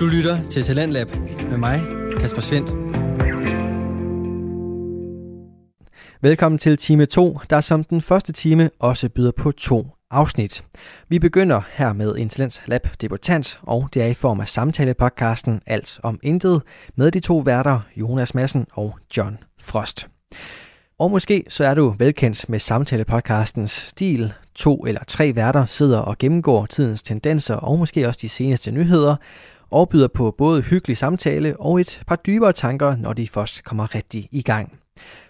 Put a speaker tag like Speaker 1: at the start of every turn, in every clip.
Speaker 1: Du lytter til Talentlab med mig, Kasper Svendt. Velkommen til time 2, der som den første time også byder på to afsnit. Vi begynder her med en Talents Lab debutant, og det er i form af samtalepodcasten Alt om Intet med de to værter Jonas Madsen og John Frost. Og måske så er du velkendt med samtalepodcastens stil. To eller tre værter sidder og gennemgår tidens tendenser og måske også de seneste nyheder, og byder på både hyggelig samtale og et par dybere tanker, når de først kommer rigtig i gang.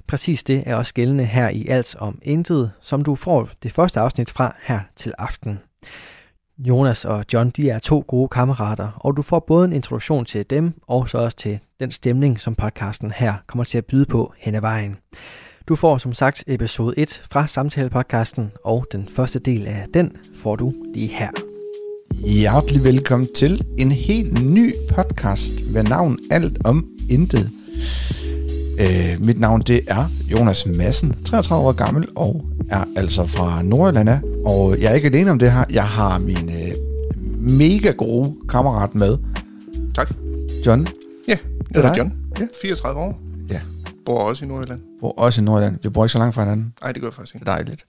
Speaker 1: Præcis det er også gældende her i Alt om Intet, som du får det første afsnit fra her til aften. Jonas og John de er to gode kammerater, og du får både en introduktion til dem og så også til den stemning, som podcasten her kommer til at byde på hen ad vejen. Du får som sagt episode 1 fra samtalepodcasten, og den første del af den får du lige her.
Speaker 2: Hjertelig velkommen til en helt ny podcast med navn Alt om Intet. Øh, mit navn det er Jonas Madsen, 33 år gammel og er altså fra Nordjylland af. Og jeg er ikke alene om det her. Jeg har min øh, mega gode kammerat med,
Speaker 3: Tak.
Speaker 2: John.
Speaker 3: Ja, jeg hedder
Speaker 2: dig.
Speaker 3: John.
Speaker 2: Ja.
Speaker 3: Ja. 34 år.
Speaker 2: Ja,
Speaker 3: Bor også i Nordjylland.
Speaker 2: bor også i Nordjylland. Vi bor ikke så langt fra hinanden.
Speaker 3: Nej, det gør jeg faktisk
Speaker 2: Det
Speaker 3: ikke.
Speaker 2: er dejligt.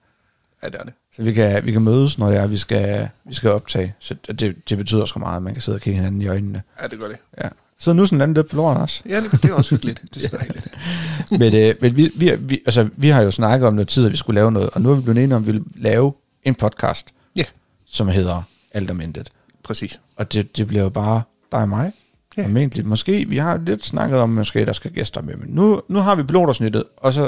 Speaker 3: Ja, det er det.
Speaker 2: Så vi kan, vi kan mødes, når det er, vi skal, vi skal optage. Så det, det betyder sgu meget, at man kan sidde og kigge hinanden i øjnene.
Speaker 3: Ja, det gør det.
Speaker 2: Ja. Så nu sådan landet op på lorten også.
Speaker 3: Ja, det, det er også hyggeligt. Det er sådan dejligt.
Speaker 2: men øh, men vi, vi, vi, altså, vi har jo snakket om noget tid, at vi skulle lave noget, og nu er vi blevet enige om, at vi vil lave en podcast,
Speaker 3: Ja,
Speaker 2: som hedder Alt om Intet.
Speaker 3: præcis.
Speaker 2: Og det, det bliver jo bare dig og mig,
Speaker 3: Ja.
Speaker 2: ja. formentlig. Måske, vi har lidt snakket om, måske der skal gæster med, men nu, nu har vi pilotersnittet, og så,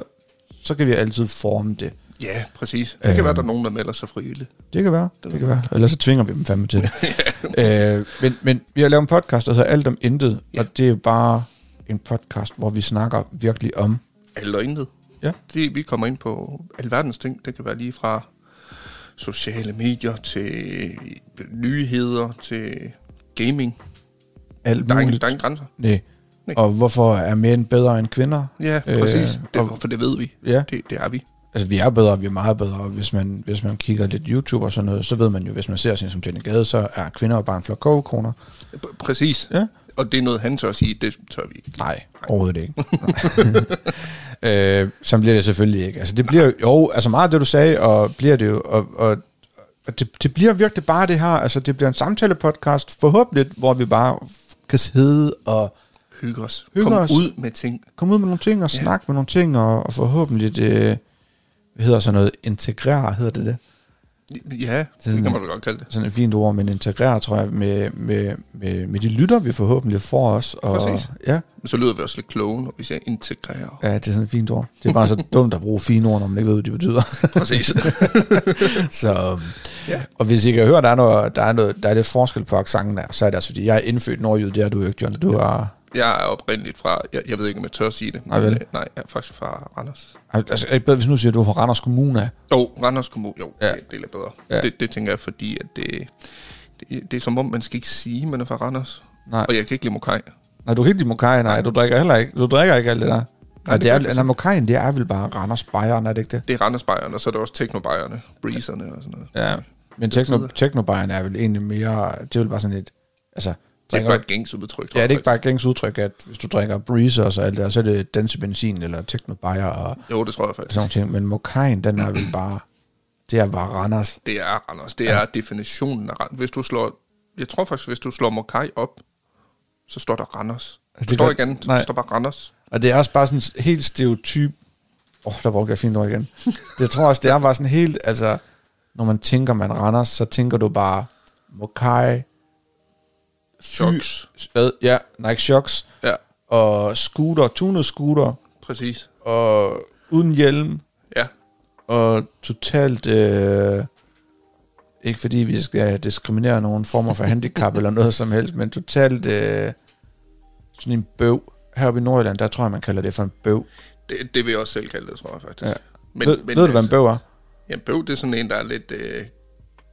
Speaker 2: så kan vi altid forme det.
Speaker 3: Ja, præcis. Det kan være, der er nogen, der melder sig frivilligt.
Speaker 2: Det kan være, det, kan være. Ellers så tvinger vi dem fandme til det. øh, men, men vi har lavet en podcast, der hedder Alt om Intet, ja. og det er jo bare en podcast, hvor vi snakker virkelig om
Speaker 3: Alt og intet.
Speaker 2: Ja.
Speaker 3: Det, vi kommer ind på alverdens ting. Det kan være lige fra sociale medier til nyheder til gaming.
Speaker 2: alt
Speaker 3: Der er ingen,
Speaker 2: muligt.
Speaker 3: der er ingen grænser.
Speaker 2: Nej.
Speaker 3: Nej.
Speaker 2: Og hvorfor er mænd bedre end kvinder? Øh,
Speaker 3: Ja, præcis. Det,
Speaker 2: og,
Speaker 3: for det ved vi.
Speaker 2: ja,
Speaker 3: Det, det er vi.
Speaker 2: altså vi er bedre, vi er meget bedre. og Hvis man, hvis man kigger lidt YouTube og sådan noget, så ved man jo, hvis man ser sådan en som Jenny Gade, så er kvinder jo bare en flok kogekoner.
Speaker 3: Pr- Præcis.
Speaker 2: Ja.
Speaker 3: Og det er noget, han tør at sige. Det tør vi ikke.
Speaker 2: Nej, overhovedet ikke. Nej. øh, så bliver det selvfølgelig ikke. Altså det bliver jo- jo, altså meget af det du sagde, og bliver det jo, og, og, og det, det bliver virkelig bare det her, altså det bliver en samtale-podcast, forhåbentlig, hvor vi bare kan sidde og
Speaker 3: Hygge os.
Speaker 2: Hygge
Speaker 3: Kom
Speaker 2: os.
Speaker 3: ud med ting.
Speaker 2: komme ud med nogle ting, og
Speaker 3: Ja.
Speaker 2: snakke med nogle ting, og, og forhåbentlig, det, hvad hedder sådan noget, integrere, hedder det det?
Speaker 3: Ja, det kan man vel godt kalde det.
Speaker 2: sådan et fint ord, men integrere, tror jeg, med, med, med, med de lytter, vi forhåbentlig får os. Og,
Speaker 3: Præcis.
Speaker 2: Ja,
Speaker 3: Men så lyder vi også lidt kloge, når vi siger integrerer.
Speaker 2: ja, det er sådan et fint ord. Det er bare så dumt at bruge fine ord, når man ikke ved, hvad de betyder.
Speaker 3: Præcis.
Speaker 2: så, øhm,
Speaker 3: Ja.
Speaker 2: Og hvis I kan høre, der er, noget, der er, noget, der er lidt forskel på accenten der, så er det altså, fordi jeg er indfødt nordjyd, det er du jo ikke, John. Du er,
Speaker 3: jeg er oprindeligt fra, jeg, jeg ved ikke, om jeg tør at sige det.
Speaker 2: Nej, vel.
Speaker 3: øh, nej, jeg er faktisk fra Randers.
Speaker 2: altså, er det ikke bedre, hvis nu siger, at du er fra Randers Kommune? af?
Speaker 3: Jo, Randers Kommune, jo,
Speaker 2: Ja.
Speaker 3: ja. det, det er lidt bedre.
Speaker 2: Ja.
Speaker 3: Ja. Det, det tænker jeg, fordi at det, det, det er som om, man skal ikke sige, man er fra Randers.
Speaker 2: Nej.
Speaker 3: Og jeg kan ikke lide Mokai.
Speaker 2: Nej, du kan ikke lide mokai, nej. Du drikker heller ikke. Du drikker ikke alt det der. Nej, nej,
Speaker 3: det
Speaker 2: det er,
Speaker 3: gør jeg
Speaker 2: nej,
Speaker 3: ikke.
Speaker 2: mokajen, det er vel bare Randers Bayern, er det ikke det?
Speaker 3: Det er Randers Bayern, og så er der også Teknobajerne, Breezerne og sådan noget.
Speaker 2: Ja, men
Speaker 3: betyder-
Speaker 2: techno, Bayern er vel egentlig mere, det er vel bare sådan et, altså,
Speaker 3: Det er
Speaker 2: drikker
Speaker 3: ikke bare et gængsudtryk. tror
Speaker 2: Ja, det
Speaker 3: jeg
Speaker 2: er ikke bare et gængs udtryk, at hvis du drikker breezer og så alt det, der, så er det dansebenzin eller teknobajer og
Speaker 3: faktisk. Jo, det tror jeg faktisk.
Speaker 2: sådan nogle ting. Men mokajen, den er vel bare, det er bare Randers.
Speaker 3: Det er Randers. Det er definitionen af Randers. Hvis du slår, jeg tror faktisk, hvis du slår Mokai op, så står der Randers.
Speaker 2: det
Speaker 3: Altså, det står
Speaker 2: gør-
Speaker 3: ikke andet.
Speaker 2: nej.
Speaker 3: Der står bare Randers.
Speaker 2: Og det er også bare sådan en helt stereotyp. Åh, oh, der brugte jeg fint ord igen. Det tror jeg også, det er bare sådan helt, altså, når man tænker, man Randers, så tænker du bare mokai,
Speaker 3: Shocks.
Speaker 2: spad, ja, Nike Shocks,
Speaker 3: Ja,
Speaker 2: og scooter, tunet scooter,
Speaker 3: præcis.
Speaker 2: og uden hjelm,
Speaker 3: Ja,
Speaker 2: og totalt øh, ikke fordi vi skal diskriminere nogen former for handicap eller noget som helst, men totalt øh, sådan en bøv. Heroppe i Nordjylland, der tror jeg, man kalder det for en bøv.
Speaker 3: det, det vil jeg også selv kalde det, tror jeg faktisk.
Speaker 2: Ja.
Speaker 3: Ja.
Speaker 2: Men, altså- ved, ved du, hvad en bøv er?
Speaker 3: Jamen, bøv, det er sådan en, der er lidt øh,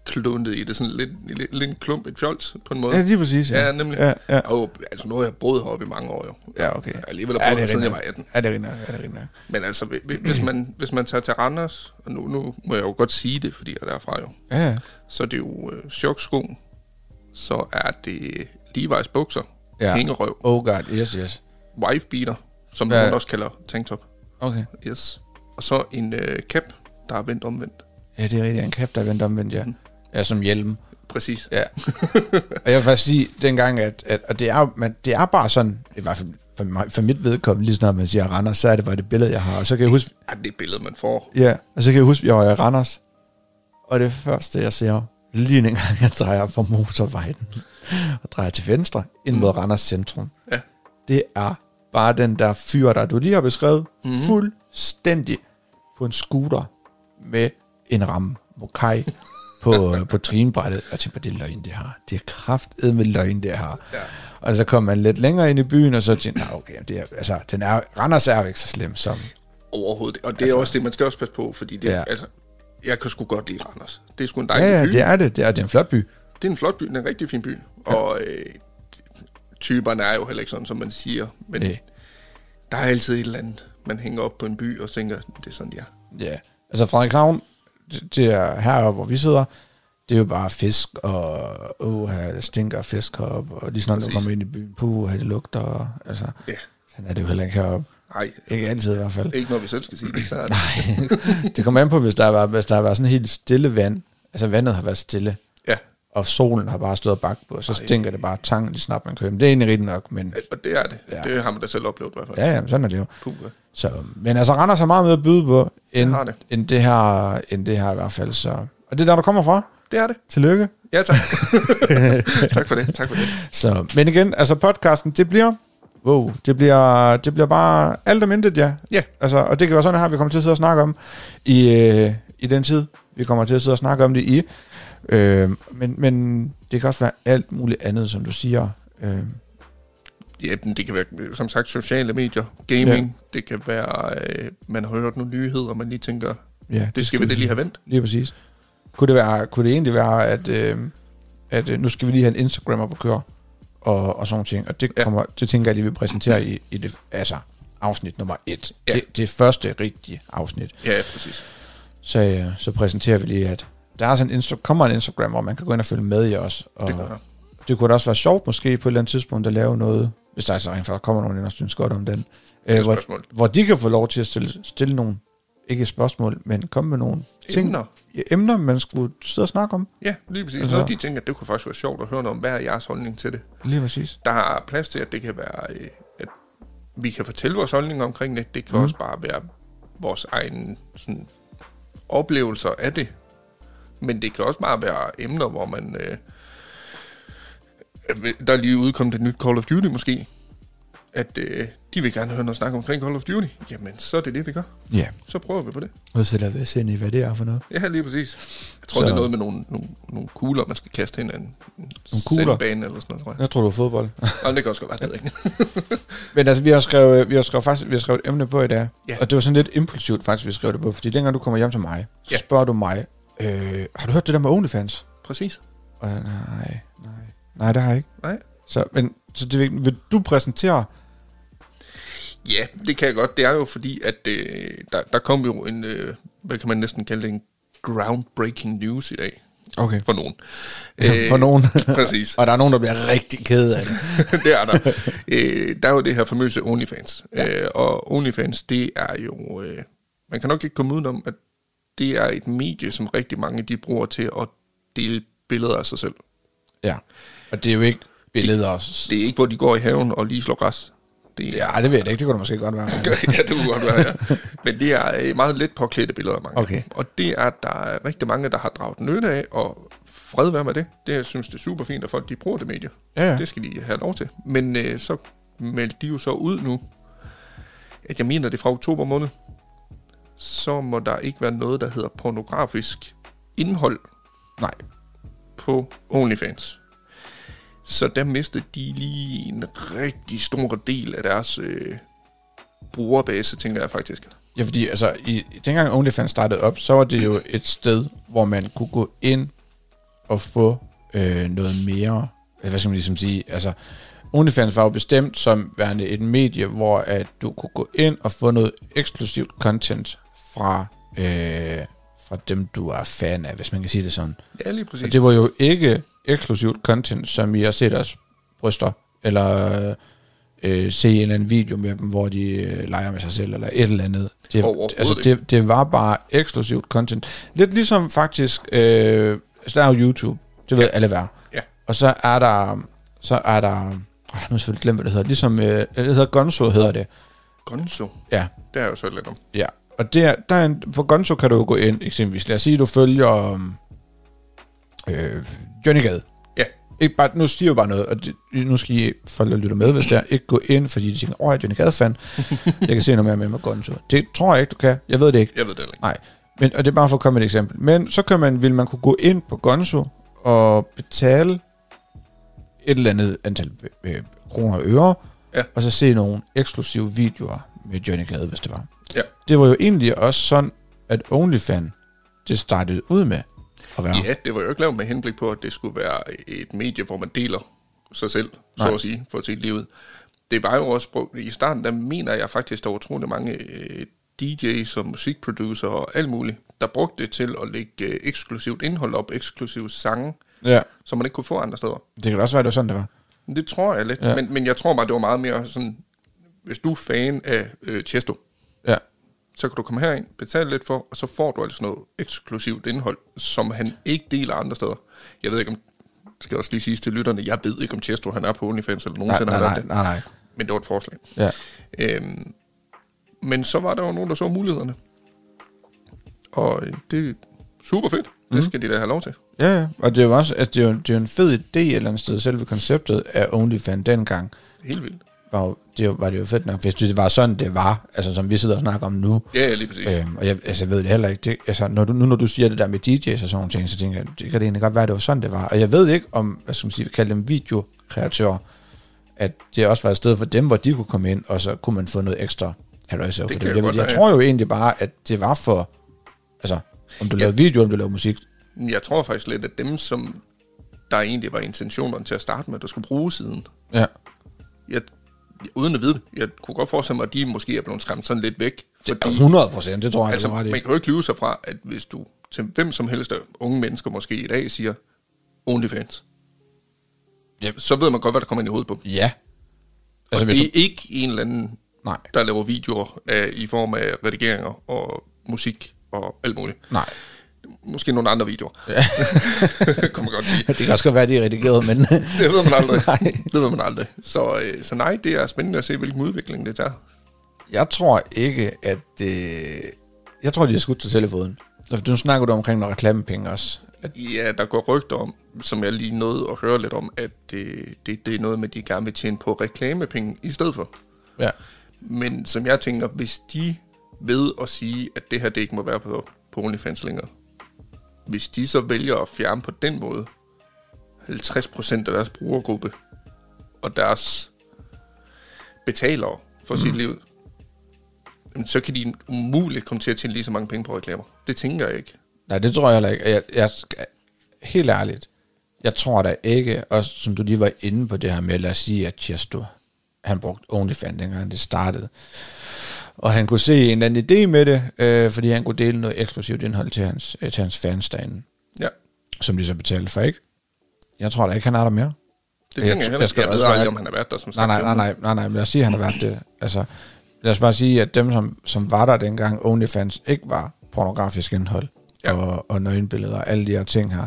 Speaker 3: kluntet i det. Sådan lidt, lidt, lidt en klump, et fjols på en måde.
Speaker 2: Ja, lige præcis.
Speaker 3: Ja, nemlig.
Speaker 2: Ja, ja.
Speaker 3: Og, altså, nu har jeg boet heroppe i mange år jo.
Speaker 2: ja okay.
Speaker 3: Jeg har alligevel
Speaker 2: Ja, det
Speaker 3: boet her,
Speaker 2: er
Speaker 3: siden jeg
Speaker 2: rigtigt.
Speaker 3: var 18.
Speaker 2: Ja, det er rigtigt. nok, Ja, det er rigtigt. nok.
Speaker 3: Men altså, hvi- hvi- hvis man, hvis man tager til Randers, og nu, nu må jeg jo godt sige det, fordi jeg er derfra jo.
Speaker 2: Ja, ja.
Speaker 3: så er det jo øh, choksko, så er det Levi's bukser,
Speaker 2: Ja.
Speaker 3: ja. hængerøv,
Speaker 2: Oh god, yes, yes.
Speaker 3: wifebeater, som
Speaker 2: Ja.
Speaker 3: ja. man også kalder tanktop.
Speaker 2: Okay.
Speaker 3: Yes. Og så en øh, cap, der er vendt omvendt.
Speaker 2: Ja, det er rigtigt. En kæft, der vendte omvendt, ja. Ja, som hjelm.
Speaker 3: Præcis.
Speaker 2: Ja. og jeg vil faktisk sige, dengang, at, at og det, er, jo- man, det er bare sådan, i hvert fald for, mig, for mit vedkommende, lige snart man siger Randers, så er det bare det billede, jeg har. Og så kan jeg huske,
Speaker 3: Ja, det er billede, man får.
Speaker 2: ja, og så kan jeg huske, jeg var i Randers, og det første, jeg ser, lige en gang, jeg drejer fra motorvejen, og drejer til venstre, ind mod Randers centrum.
Speaker 3: Ja.
Speaker 2: Det er bare den der fyr, der du lige har beskrevet, mm. fuldstændig på en scooter med en ramme mokai på, øh, på trinbrættet. Jeg tænkte, det er løgn, det her. Det er kraftet med løgn, det her. Ja. Og så kom man lidt længere ind i byen, og så tænkte jeg, "Nå, okay, det er, altså, den er, Randers er jo ikke så slem som...
Speaker 3: Overhovedet. ikke. Og det er også det, man skal også passe på, fordi det,
Speaker 2: Altså- Ja.
Speaker 3: ja. altså, jeg kan sgu godt lide Randers. Det er sgu en
Speaker 2: Ja,
Speaker 3: dejlig
Speaker 2: ja,
Speaker 3: by.
Speaker 2: det er det. Det er, det er en flot by.
Speaker 3: det er en flot by, det er en rigtig fin by. Ja. Og øh, typerne er jo heller ikke sådan, som man siger. Men
Speaker 2: Nej.
Speaker 3: der er altid et eller andet, man hænger op på en by og tænker, det er sådan, de er.
Speaker 2: Ja, altså Frederikshavn, det, det er heroppe, hvor vi sidder, det er jo bare fisk, og åh, det stinker af fisk heroppe, og lige snart du
Speaker 3: Præcis.
Speaker 2: kommer ind i byen, puh, det lugter, og, altså,
Speaker 3: Ja.
Speaker 2: sådan er det jo heller ikke heroppe.
Speaker 3: Nej,
Speaker 2: Ikke altid i hvert fald.
Speaker 3: ikke når vi selv skal sige det. Så er det.
Speaker 2: Nej, det kommer an på, hvis der, har været, hvis der har været sådan helt stille vand, altså vandet har været stille,
Speaker 3: Ja,
Speaker 2: og solen har bare stået og bagt på, så stinker det bare af tang, lige snart man kører. Men det er egentlig rigtigt nok, men
Speaker 3: og det er det.
Speaker 2: Ja.
Speaker 3: Ja. Det har man da selv oplevet i hvert fald.
Speaker 2: ja, ja, sådan er det jo.
Speaker 3: Puh, ja.
Speaker 2: Så, men altså, Randers har meget mere at byde på, end,
Speaker 3: Det har det.
Speaker 2: end, det her, end det her i hvert fald. Så. Og det er der, du kommer fra.
Speaker 3: Det er det.
Speaker 2: Tillykke.
Speaker 3: Ja, tak. tak for det, tak for det.
Speaker 2: Så, men igen, altså podcasten, det bliver... Wow, det bliver, det bliver bare alt om intet, ja.
Speaker 3: Ja.
Speaker 2: Altså, og det kan være sådan her, vi kommer til at sidde og snakke om i, øh, i den tid, vi kommer til at sidde og snakke om det i. Øh, men, men det kan også være alt muligt andet, som du siger. Øh,
Speaker 3: Ja, men det kan være, som sagt, sociale medier, gaming, ja. det kan være, øh, man har hørt nogle nyheder, og man lige tænker,
Speaker 2: ja,
Speaker 3: det skal vi da lige have vendt.
Speaker 2: Lige præcis. Kunne det, være, kunne det egentlig være, at, øh, at øh, nu skal vi lige have en Instagram op at køre, og, og sådan nogle ting. Og det,
Speaker 3: Ja.
Speaker 2: kommer, det tænker jeg lige, vi præsenterer i, i det, altså, afsnit nummer et.
Speaker 3: Ja.
Speaker 2: Det, det første rigtige afsnit.
Speaker 3: Ja, ja, præcis.
Speaker 2: Så, øh, så præsenterer vi lige, at der er sådan en Insta- kommer en Instagram, hvor man kan gå ind og følge med i os. Og
Speaker 3: Det gør der.
Speaker 2: det kunne da også være sjovt måske på et eller andet tidspunkt at lave noget, hvis der altså rent faktisk kommer nogen ind og synes godt om den. Øh, hvor,
Speaker 3: spørgsmål.
Speaker 2: hvor de kan få lov til at stille, stille nogle, ikke spørgsmål, men komme med nogle ting,
Speaker 3: Emner.
Speaker 2: ja, emner, man skulle sidde og snakke om.
Speaker 3: Ja, lige præcis.
Speaker 2: Altså-
Speaker 3: Altså, Når de tænker, at det kunne faktisk være sjovt at høre noget om, hvad er jeres holdning til det?
Speaker 2: Lige præcis.
Speaker 3: Der er plads til, at det kan være, øh, at vi kan fortælle vores holdning omkring det. Det kan mm. også bare være vores egen sådan, oplevelser af det. Men det kan også bare være emner, hvor man... Øh, øh, der er lige udkommet et nyt Call of Duty måske. At øh, de vil gerne høre noget snak omkring Call of Duty. Jamen, så er det det, vi gør.
Speaker 2: Ja.
Speaker 3: Så prøver vi på det.
Speaker 2: Og så lader vi os ind i, hvad det er for noget.
Speaker 3: Ja, lige præcis. Jeg tror,
Speaker 2: Så-
Speaker 3: så... det er noget med nogle, nogle, nogle kugler, man skal kaste hinanden. Nogle
Speaker 2: kugler?
Speaker 3: Sandbane eller sådan noget, tror jeg.
Speaker 2: Jeg tror, det var fodbold.
Speaker 3: Og det kan også godt være, det ved jeg ikke.
Speaker 2: men altså, vi har skrevet, vi har skrevet, faktisk, vi har skrevet et emne på i dag.
Speaker 3: Ja.
Speaker 2: Og det var sådan lidt impulsivt faktisk, vi skrev det på. Fordi dengang du kommer hjem til mig, så
Speaker 3: Ja.
Speaker 2: spørger du mig, øh, har du hørt det der med OnlyFans?
Speaker 3: Præcis.
Speaker 2: Og jeg, nej, nej. Nej, det har jeg ikke.
Speaker 3: Nej.
Speaker 2: Så, men, så det, vil vil du præsentere?
Speaker 3: Ja, det kan jeg godt. Det er jo fordi, at øh, der, der kom jo en, øh, hvad kan man næsten kalde det, en groundbreaking news i dag.
Speaker 2: Okay.
Speaker 3: For nogen.
Speaker 2: øh,
Speaker 3: Øh,
Speaker 2: For nogen.
Speaker 3: præcis.
Speaker 2: og der er nogen, der bliver rigtig ked af det.
Speaker 3: det er der. Øh, der er jo det her famøse OnlyFans. Ja. Øh, og OnlyFans, det er jo... Øh, man kan nok ikke komme udenom, at det er et medie, som rigtig mange de bruger til at dele billeder af sig selv.
Speaker 2: Ja. Og det er jo ikke billeder. Det,
Speaker 3: Det er ikke, hvor de går i haven og lige slår græs. Det er,
Speaker 2: ja, det ved jeg da ikke. Det kunne det måske godt være.
Speaker 3: ja, det kunne godt være, ja. Men det er øh, meget let påklædte billeder af mange.
Speaker 2: Okay.
Speaker 3: Og det er, at der er rigtig mange, der har draget nytte af, og fred være med det. Det jeg synes det er super fint, at folk de bruger det medie.
Speaker 2: Ja, ja.
Speaker 3: Det skal de have lov til. Men øh, så meldte de jo så ud nu, at jeg mener, det er fra oktober måned, så må der ikke være noget, der hedder pornografisk indhold
Speaker 2: Nej.
Speaker 3: på OnlyFans. Så der mistede de lige en rigtig stor del af deres øh, brugerbase, tænker jeg faktisk.
Speaker 2: Ja, fordi altså, i, dengang OnlyFans startede op, så var det jo et sted, hvor man kunne gå ind og få øh, noget mere, altså, hvad skal man ligesom sige, altså, OnlyFans var jo bestemt som værende et medie, hvor at du kunne gå ind og få noget eksklusivt content fra, øh, fra dem, du er fan af, hvis man kan sige det sådan.
Speaker 3: Ja, lige
Speaker 2: Og
Speaker 3: præcis. Det...
Speaker 2: det var jo ikke eksklusivt content, som I har set os bryster, eller øh, se en eller anden video med dem, hvor de øh, leger med sig selv, eller et eller andet. Det,
Speaker 3: Overhovedet
Speaker 2: altså, det, det var bare eksklusivt content. Lidt ligesom faktisk, øh, så der er jo YouTube, det ved ja. alle være.
Speaker 3: Ja.
Speaker 2: Og så er der, så er der, åh, nu har jeg selvfølgelig glemt, hvad det hedder, ligesom, øh, det hedder Gonzo, hedder det.
Speaker 3: Gonzo.
Speaker 2: Ja,
Speaker 3: Det er jeg jo så lidt om.
Speaker 2: Ja, og der, der er en, på Gonzo kan du jo gå ind, eksempelvis. Lad os sige, du følger øhm, øh, Johnny Gade.
Speaker 3: Ja.
Speaker 2: Ikke bare, nu siger jeg bare noget, og det, nu skal I, folk der lytter med, hvis der ikke gå ind, fordi de tænker, åh, jeg er Johnny Gade fan. jeg kan se noget mere med mig Gonzo. Det tror jeg ikke, du kan. Jeg ved det ikke.
Speaker 3: Jeg ved det heller ikke.
Speaker 2: Nej, men, og det er bare for at komme med et eksempel. Men så kan man, vil man kunne gå ind på Gonzo og betale et eller andet antal øh, kroner og øre,
Speaker 3: Ja.
Speaker 2: og så se nogle eksklusive videoer med Johnny Gade, hvis det var.
Speaker 3: Ja.
Speaker 2: Det var jo egentlig også sådan, at OnlyFans, det startede ud med at være.
Speaker 3: Ja, det var jo ikke lavet med henblik på, at det skulle være et medie, hvor man deler sig selv,
Speaker 2: Nej.
Speaker 3: så at sige, for sit liv. Det var jo også brugt, i starten, der mener jeg faktisk, der var utrolig mange øh, DJ's og musikproducer og alt muligt, der brugte det til at lægge øh, eksklusivt indhold op, eksklusivt sange,
Speaker 2: ja.
Speaker 3: som man ikke kunne få andre steder.
Speaker 2: Det kan da også være, det var sådan, det var.
Speaker 3: Men Det tror jeg lidt,
Speaker 2: Ja.
Speaker 3: ja. men, men jeg tror bare, det var meget mere sådan, hvis du er fan af øh, Chesto,
Speaker 2: Ja.
Speaker 3: så kan du komme herind, betale lidt for, og så får du altså noget eksklusivt indhold, som han ikke deler andre steder. Jeg ved ikke om, skal også lige sige til lytterne, jeg ved ikke om Chesto han er på OnlyFans, eller
Speaker 2: Nej,
Speaker 3: nogensinde
Speaker 2: nej,
Speaker 3: har været
Speaker 2: nej, nej, nej.
Speaker 3: det, men det var et forslag.
Speaker 2: Ja.
Speaker 3: Øhm, men så var der jo nogen, der så mulighederne. Og øh, det er super fedt. Det
Speaker 2: Mhm.
Speaker 3: skal de da have lov til.
Speaker 2: Ja, ja. og det er jo også, at det er jo, det er jo en fed idé et eller andet sted, selve konceptet af OnlyFans dengang,
Speaker 3: Helt vildt.
Speaker 2: var, jo, det jo- var det jo fedt nok, hvis det var sådan, det var, altså som vi sidder og snakker om nu.
Speaker 3: Ja, ja, lige præcis. Øh.
Speaker 2: Øhm, og jeg, altså, jeg ved det heller ikke. Det, altså, når du, nu når du siger det der med DJ's og sådan nogle ting, så tænker jeg, det kan det egentlig godt være, det var sådan, det var. Og jeg ved ikke om, hvad skal man sige, vi kalder dem videokreatører, at det også var et sted for dem, hvor de kunne komme ind, og så kunne man få noget ekstra halløjse for
Speaker 3: kan
Speaker 2: det. Jeg,
Speaker 3: jeg
Speaker 2: jeg, ved,
Speaker 3: godt
Speaker 2: jeg
Speaker 3: være,
Speaker 2: tror jo egentlig bare, at det var for, altså, om du lavede video, om du lavede musik.
Speaker 3: Jeg tror faktisk lidt, at dem, som der egentlig var intentionerne til at starte med, der skulle bruge siden,
Speaker 2: Ja.
Speaker 3: jeg, uden at vide det, jeg kunne godt forestille mig, at de måske er blevet skræmt sådan lidt væk.
Speaker 2: Det
Speaker 3: Fordi,
Speaker 2: er 100 procent, det tror jeg, altså,
Speaker 3: altså,
Speaker 2: det var
Speaker 3: man
Speaker 2: det.
Speaker 3: kan jo ikke lyve sig fra, at hvis du til hvem som helst af unge mennesker måske i dag siger, OnlyFans,
Speaker 2: Yep.
Speaker 3: så ved man godt, hvad der kommer ind i hovedet på dem.
Speaker 2: Ja.
Speaker 3: Altså,
Speaker 2: Altså,
Speaker 3: og
Speaker 2: hvis
Speaker 3: det
Speaker 2: du,
Speaker 3: er ikke en eller anden,
Speaker 2: nej,
Speaker 3: der laver videoer af, i form af redigeringer og musik og alt muligt.
Speaker 2: nej.
Speaker 3: Måske nogle andre videoer. Ja. kan man godt sige.
Speaker 2: Det kan også godt være, det er redigeret, men
Speaker 3: Det ved man aldrig.
Speaker 2: Nej.
Speaker 3: Det ved man aldrig. Så, øh, så nej, det er spændende at se, hvilken udvikling det tager.
Speaker 2: Jeg tror ikke, at... Øh, jeg tror, de har skudt sig selv i foden. Altså, Nu snakker du omkring nogle reklamepenge også. At,
Speaker 3: Ja, der går rygter om, som jeg lige nåede at høre lidt om, at det, det, det er noget med, at de gerne vil tjene på reklamepenge i stedet for.
Speaker 2: ja.
Speaker 3: Men som jeg tænker, hvis de ved at sige, at det her det ikke må være på, på OnlyFans længere, hvis de så vælger at fjerne på den måde 50% af deres brugergruppe og deres betalere for
Speaker 2: Mm.
Speaker 3: sit liv, jamen, så kan de umuligt komme til at tjene lige så mange penge på reklamer. Det tænker jeg ikke.
Speaker 2: Nej, det tror jeg heller ikke. Og Jeg, jeg, skal- helt ærligt, jeg tror da ikke, og som du lige var inde på det her med, lad os sige, at Chesto, han brugte OnlyFans, dengang det startede. Og han kunne se en eller anden idé med det, øh, fordi han kunne dele noget eksklusivt indhold til hans, øh, til hans fans derinde,
Speaker 3: Ja,
Speaker 2: som de så betalte for, ikke? Jeg tror da ikke, han har der mere.
Speaker 3: det
Speaker 2: Jeg
Speaker 3: tænker jeg,
Speaker 2: tr-
Speaker 3: heller
Speaker 2: jeg
Speaker 3: ikke.
Speaker 2: skal
Speaker 3: Jeg, jeg ved
Speaker 2: også
Speaker 3: aldrig,
Speaker 2: være-
Speaker 3: om han har været der som
Speaker 2: Nej,
Speaker 3: sagt.
Speaker 2: nej, nej, nej, nej, nej, men lad os sige, at han har været det. Altså, lad os bare sige, at dem, som, som var der dengang, OnlyFans, ikke var pornografisk indhold ja.
Speaker 3: Ja.
Speaker 2: og, og nøgenbilleder og alle de her ting her.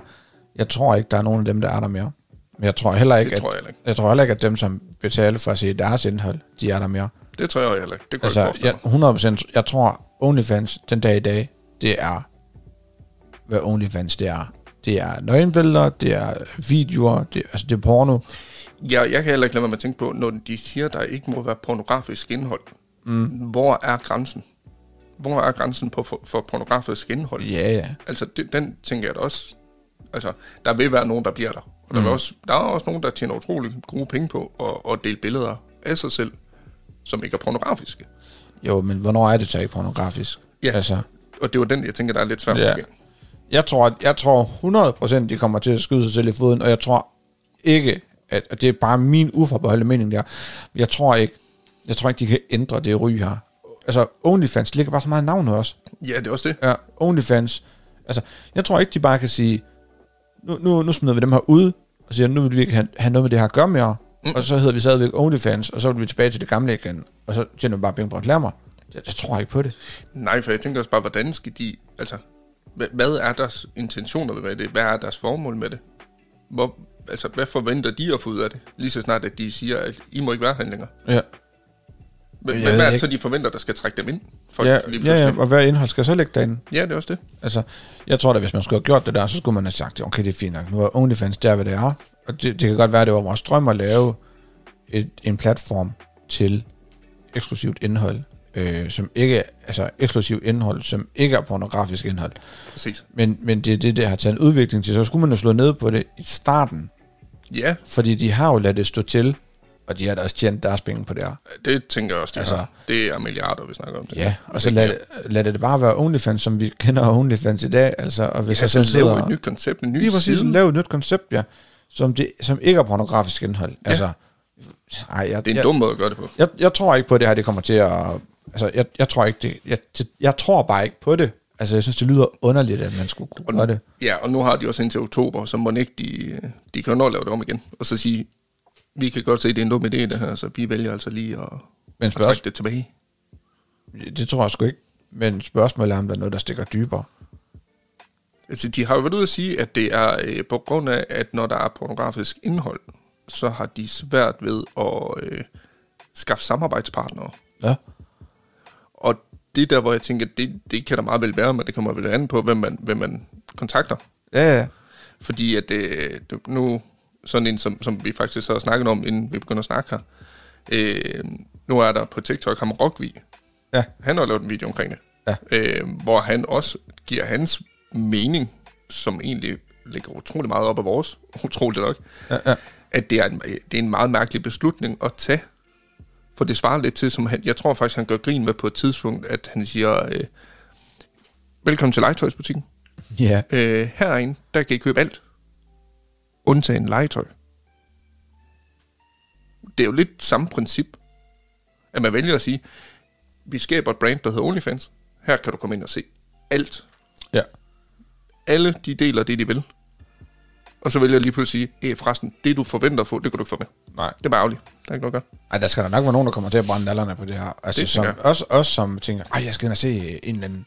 Speaker 2: Jeg tror ikke, der er nogen af dem, der er der mere. Men jeg tror heller ikke,
Speaker 3: Det tror
Speaker 2: at,
Speaker 3: jeg heller ikke.
Speaker 2: jeg tror heller ikke, at dem, som betaler for at se deres indhold, de er der mere.
Speaker 3: Det tror jeg heller ikke. Det kunne altså, jeg
Speaker 2: Altså,
Speaker 3: ikke
Speaker 2: jeg,
Speaker 3: forestille
Speaker 2: 100%, jeg tror, OnlyFans den dag i dag, det er, hvad OnlyFans det er. Det er nøgenbilleder, det er videoer, det, altså det er porno.
Speaker 3: mig. Jeg, jeg kan heller ikke lade være med at tænke på, når de siger, der ikke må være pornografisk indhold. Mm. Hvor er grænsen? Hvor er grænsen på, for, for pornografisk indhold?
Speaker 2: Ja, ja.
Speaker 3: Altså, det, den tænker jeg da også... Altså, der vil være nogen, der bliver der. Og der, mm. vil også, der er også nogen, der tjener utrolig gode penge på at, at dele billeder af sig selv, som ikke er pornografiske.
Speaker 2: Jo, men hvornår er det så ikke pornografisk?
Speaker 3: Ja.
Speaker 2: Altså,
Speaker 3: Og det var den, jeg tænker, der er lidt svært.
Speaker 2: Ja.
Speaker 3: Ja.
Speaker 2: jeg tror, at- jeg tror 100% de kommer til at skyde sig selv i foden, og jeg tror ikke, at, og det er bare min uforbeholdende mening der, jeg tror ikke, jeg tror ikke, de kan ændre det ry her. Altså, OnlyFans ligger bare så meget navn også.
Speaker 3: ja, det er også det.
Speaker 2: Ja, OnlyFans. Altså, jeg tror ikke, de bare kan sige, nu, nu, nu smider vi dem her ud, og siger, nu vil vi ikke have, have noget med det her at gøre mere. Mm. Og så hedder vi stadigvæk OnlyFans, og så vil vi tilbage til det gamle igen. Og så tjener vi bare penge på reklamer. Jeg, jeg tror ikke på det.
Speaker 3: Nej, for jeg tænker også bare, hvordan skal de... Altså, hvad, hvad er deres intentioner med det? Hvad er deres formål med det? Hvor, altså, hvad forventer de at få ud af det? Lige så snart, at de siger, at I må ikke være her længere.
Speaker 2: Ja.
Speaker 3: Hvad,
Speaker 2: Jeg
Speaker 3: hvad
Speaker 2: ved
Speaker 3: er det
Speaker 2: ikke.
Speaker 3: så, de forventer, der skal trække dem ind? Folk
Speaker 2: Ja,
Speaker 3: lige
Speaker 2: ja, ja,
Speaker 3: pludselig?
Speaker 2: og hvad indhold skal jeg så lægge derinde?
Speaker 3: ja, det er også det.
Speaker 2: Altså, jeg tror da, hvis man skulle have gjort det der, så skulle man have sagt, okay, det er fint nok, nu er OnlyFans der, hvad det er. Og det, det kan godt være, at det var vores drøm at lave et, en platform til eksklusivt indhold, øh, som ikke, altså eksklusivt indhold, som ikke er pornografisk indhold.
Speaker 3: Præcis.
Speaker 2: Men, men det er det, der har taget en udvikling til. Så skulle man jo slå ned på det i starten,
Speaker 3: Ja,
Speaker 2: fordi de har jo ladet det stå til, og de har da også tjent deres penge på det her.
Speaker 3: det tænker jeg også, det
Speaker 2: Altså-
Speaker 3: altså, Det er milliarder, vi snakker om. Det.
Speaker 2: Ja, og så lad, lad det bare være OnlyFans, som vi kender OnlyFans i dag. Altså, og hvis
Speaker 3: Ja,
Speaker 2: jeg
Speaker 3: så
Speaker 2: selv
Speaker 3: lave
Speaker 2: sidder,
Speaker 3: et nyt koncept, en ny
Speaker 2: lige præcis,
Speaker 3: side.
Speaker 2: lave et nyt koncept, ja, som, det, som ikke er pornografisk indhold. Ja. Altså, ej, jeg,
Speaker 3: Det er en
Speaker 2: jeg,
Speaker 3: dum måde at gøre det på.
Speaker 2: Jeg, jeg tror ikke på, at det her det kommer til at... Altså, jeg, jeg tror ikke det, jeg, det, jeg tror bare ikke på det. Altså, jeg synes, det lyder underligt, at man skulle kunne gøre det.
Speaker 3: Ja, og nu har de også indtil oktober, så må ikke de, de kan jo nå at lave det om igen. Og så sige, vi kan godt se, det er en dum idé, det her, så vi vælger altså lige at,
Speaker 2: Men
Speaker 3: at trække
Speaker 2: spørgsmålet,
Speaker 3: det tilbage.
Speaker 2: det tror jeg sgu ikke. Men spørgsmålet er, om der er noget, der stikker dybere.
Speaker 3: Altså, de har jo været ude at sige, at det er øh, på grund af, at når der er pornografisk indhold, så har de svært ved at øh, skaffe samarbejdspartnere.
Speaker 2: Ja.
Speaker 3: Og det er der, hvor jeg tænker, det, det kan der meget vel være, men det kommer vel an på, hvem man, hvem man kontakter.
Speaker 2: Ja, ja.
Speaker 3: Fordi at øh, det- nu, sådan en, som, som vi faktisk har snakket om, inden vi begynder at snakke her, øh, nu er der på TikTok ham Rockvi.
Speaker 2: Ja.
Speaker 3: Han har lavet en video omkring det.
Speaker 2: Ja.
Speaker 3: Øh, hvor han også giver hans mening, som egentlig ligger utrolig meget op af vores, utroligt nok,
Speaker 2: ja, ja.
Speaker 3: at det er, en, det er en meget mærkelig beslutning at tage. For det svarer lidt til, som han, jeg tror faktisk, han gør grin med på et tidspunkt, at han siger, øh, velkommen til legetøjsbutikken.
Speaker 2: ja.
Speaker 3: Øh, herinde, der kan I købe alt. Undtagen legetøj. Det er jo lidt samme princip, at man vælger at sige, vi skaber et brand, der hedder OnlyFans. Her kan du komme ind og se alt.
Speaker 2: ja.
Speaker 3: Alle de deler det, de vil. Og så vælger jeg lige pludselig at sige, hey, forresten, det du forventer at få, det kan du ikke få med.
Speaker 2: Nej.
Speaker 3: Det er bare ærgerligt. Der er ikke noget at gøre.
Speaker 2: Ej, der skal der nok være nogen, der kommer til at brænde nallerne på det her. Altså,
Speaker 3: Det
Speaker 2: det som,
Speaker 3: tænker
Speaker 2: også, også som tænker, ej, jeg skal ind og se en eller anden...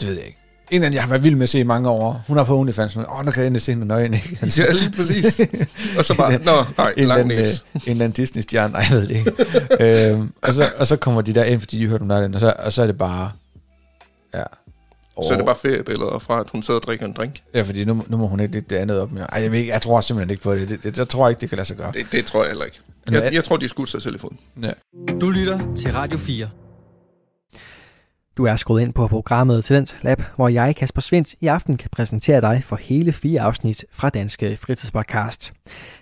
Speaker 2: Det ved jeg ikke. En eller anden, jeg har været vild med at se i mange år. Hun har på OnlyFans. men, Åh, oh, nu kan jeg endelig se hende nøgen, ikke? Altså,
Speaker 3: Ja, lige præcis. og så bare, nå, nej,
Speaker 2: en, eller
Speaker 3: lang
Speaker 2: anden, øh,
Speaker 3: næse.
Speaker 2: en eller anden Disney-stjerne, nej, jeg ved det ikke. øhm, og, så, og så kommer de der ind, fordi de hørte om natten, og så, og så er det bare... Ja. øh,
Speaker 3: Så er det bare feriebilleder fra, at hun sidder og drikker en drink.
Speaker 2: Ja, fordi nu, nu må hun ikke lægge det andet op mere. Ej, jeg, ved ikke, jeg tror simpelthen ikke på det. det, det jeg tror ikke, det kan lade sig gøre.
Speaker 3: Det, det tror jeg heller ikke.
Speaker 2: Men
Speaker 3: Jeg,
Speaker 2: hvad-
Speaker 3: jeg tror, de skudte sig selv i foden.
Speaker 2: Ja.
Speaker 1: Du lytter til Radio 4. Du er skruet ind på programmet Talent Lab, hvor jeg, Kasper Svendt, i aften kan præsentere dig for hele fire afsnit fra Danske Fritidspodcast.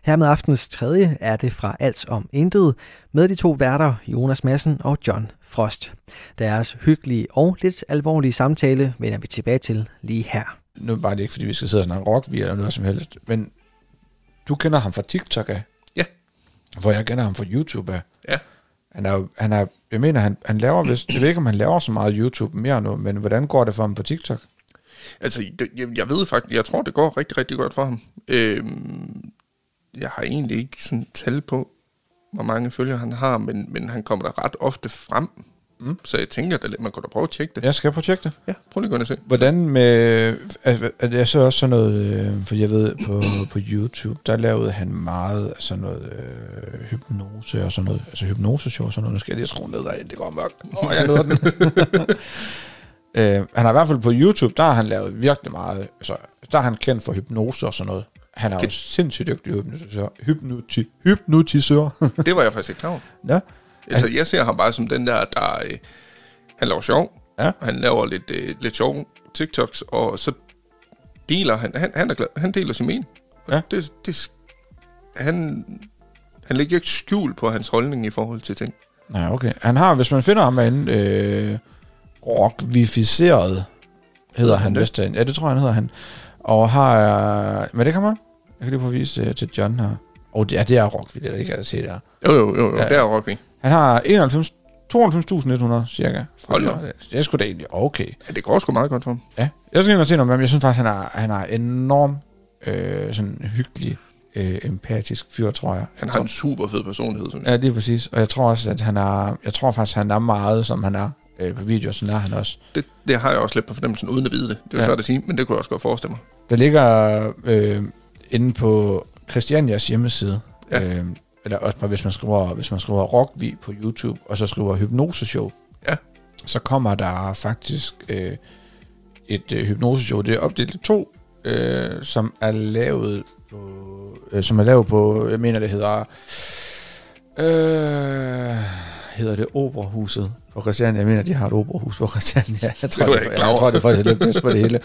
Speaker 1: Her med aftens tredje er det fra Alt om Intet, med de to værter Jonas Madsen og John Frost. Deres hyggelige og lidt alvorlige samtale vender vi tilbage til lige her.
Speaker 2: Nu er det bare det ikke, fordi vi skal sidde og snakke rock eller noget som helst. Men du kender ham fra TikTok af.
Speaker 3: Ja.
Speaker 2: Hvor jeg kender ham fra YouTube af.
Speaker 3: Ja.
Speaker 2: Han er, jo- han er, jeg mener, han, han laver vist, jeg ved ikke, om han laver så meget YouTube mere nu, men hvordan går det for ham på TikTok?
Speaker 3: Altså, det, jeg, jeg ved faktisk, jeg tror, det går rigtig, rigtig godt for ham. Øhm, jeg har egentlig ikke sådan tal på, hvor mange følgere han har, men, men han kommer der ret ofte frem. Mm. Så jeg tænker, at man kunne da prøve at tjekke det. Ja,
Speaker 2: Jeg skal prøve at tjekke det.
Speaker 3: ja prøv lige at gå ind og se.
Speaker 2: Hvordan med... Er, er det så også sådan noget... Øh, fordi jeg ved, på, på YouTube, der lavede han meget af sådan noget øh, hypnose og sådan noget. Altså hypnoseshow og sådan noget. Nu skal jeg lige skrue ned derinde, det går mørkt. Åh, jeg nåede den. øh, han har i hvert fald på YouTube, der har han lavet virkelig meget... Altså, der er han kendt for hypnose og sådan noget. Han er jo
Speaker 3: Okay.
Speaker 2: sindssygt dygtig hypnotisør. Hypnoti, hypnotisør.
Speaker 3: Det var jeg faktisk ikke klar over.
Speaker 2: ja.
Speaker 3: Altså, jeg ser ham bare som den der, der... Øh, han laver sjov.
Speaker 2: Ja.
Speaker 3: Han laver lidt, øh, lidt sjov TikToks, og så deler han... Han, han, er glad, han deler sin mening. Og
Speaker 2: Ja.
Speaker 3: Det, det, sk- han, han lægger ikke skjul på hans holdning i forhold til ting.
Speaker 2: Nej, okay. Han har, hvis man finder ham herinde, øh, rockvificeret, hedder han
Speaker 3: det?
Speaker 2: vist derinde. Ja, det tror jeg, han hedder han. Og har... Øh, men det kommer jeg. Jeg kan lige prøve at vise øh, til John her. Og oh, det, ja, det er rockvi, det er der ikke, jeg kan se det er.
Speaker 3: Jo, jo, jo, jo.
Speaker 2: Ja.
Speaker 3: Ja. det er Rocky.
Speaker 2: Han har 91 92.100 cirka.
Speaker 3: Hold da op.
Speaker 2: det, det er sgu da egentlig okay.
Speaker 3: Ja, det går sgu meget godt for ham.
Speaker 2: Ja. Jeg skal ind og se noget med ham. Jeg synes faktisk, han er, han er enormt øh, sådan hyggelig øh, empatisk fyr, tror jeg.
Speaker 3: Han
Speaker 2: Jeg
Speaker 3: har
Speaker 2: tror,
Speaker 3: en super fed personlighed, synes jeg.
Speaker 2: Ja, det er præcis. Og jeg tror også, at han er, jeg tror faktisk, han er meget, som han er øh, på video, sådan er han også.
Speaker 3: Det, det har jeg også lidt på fornemmelsen, uden at vide det. Det er jo
Speaker 2: Ja.
Speaker 3: ja. svært at sige, men det kunne jeg også godt forestille mig.
Speaker 2: Der ligger øh, inde på Christianias hjemmeside,
Speaker 3: Ja.
Speaker 2: øh, eller også bare hvis man skriver, hvis man skriver Rockvi på YouTube, og så skriver Hypnoseshow,
Speaker 3: Ja.
Speaker 2: så kommer der faktisk øh, et øh, hypnoseshow. Det er opdelt i to, øh, som er lavet på, øh, som er lavet på, jeg mener det hedder, øh, hedder det Operahuset på Christiania. Jeg mener, de har et operahus på Christiania. Jeg tror,
Speaker 3: var
Speaker 2: det,
Speaker 3: jeg ikke
Speaker 2: jeg,
Speaker 3: klar
Speaker 2: jeg
Speaker 3: over.
Speaker 2: tror, det er faktisk lidt bedst på det hele.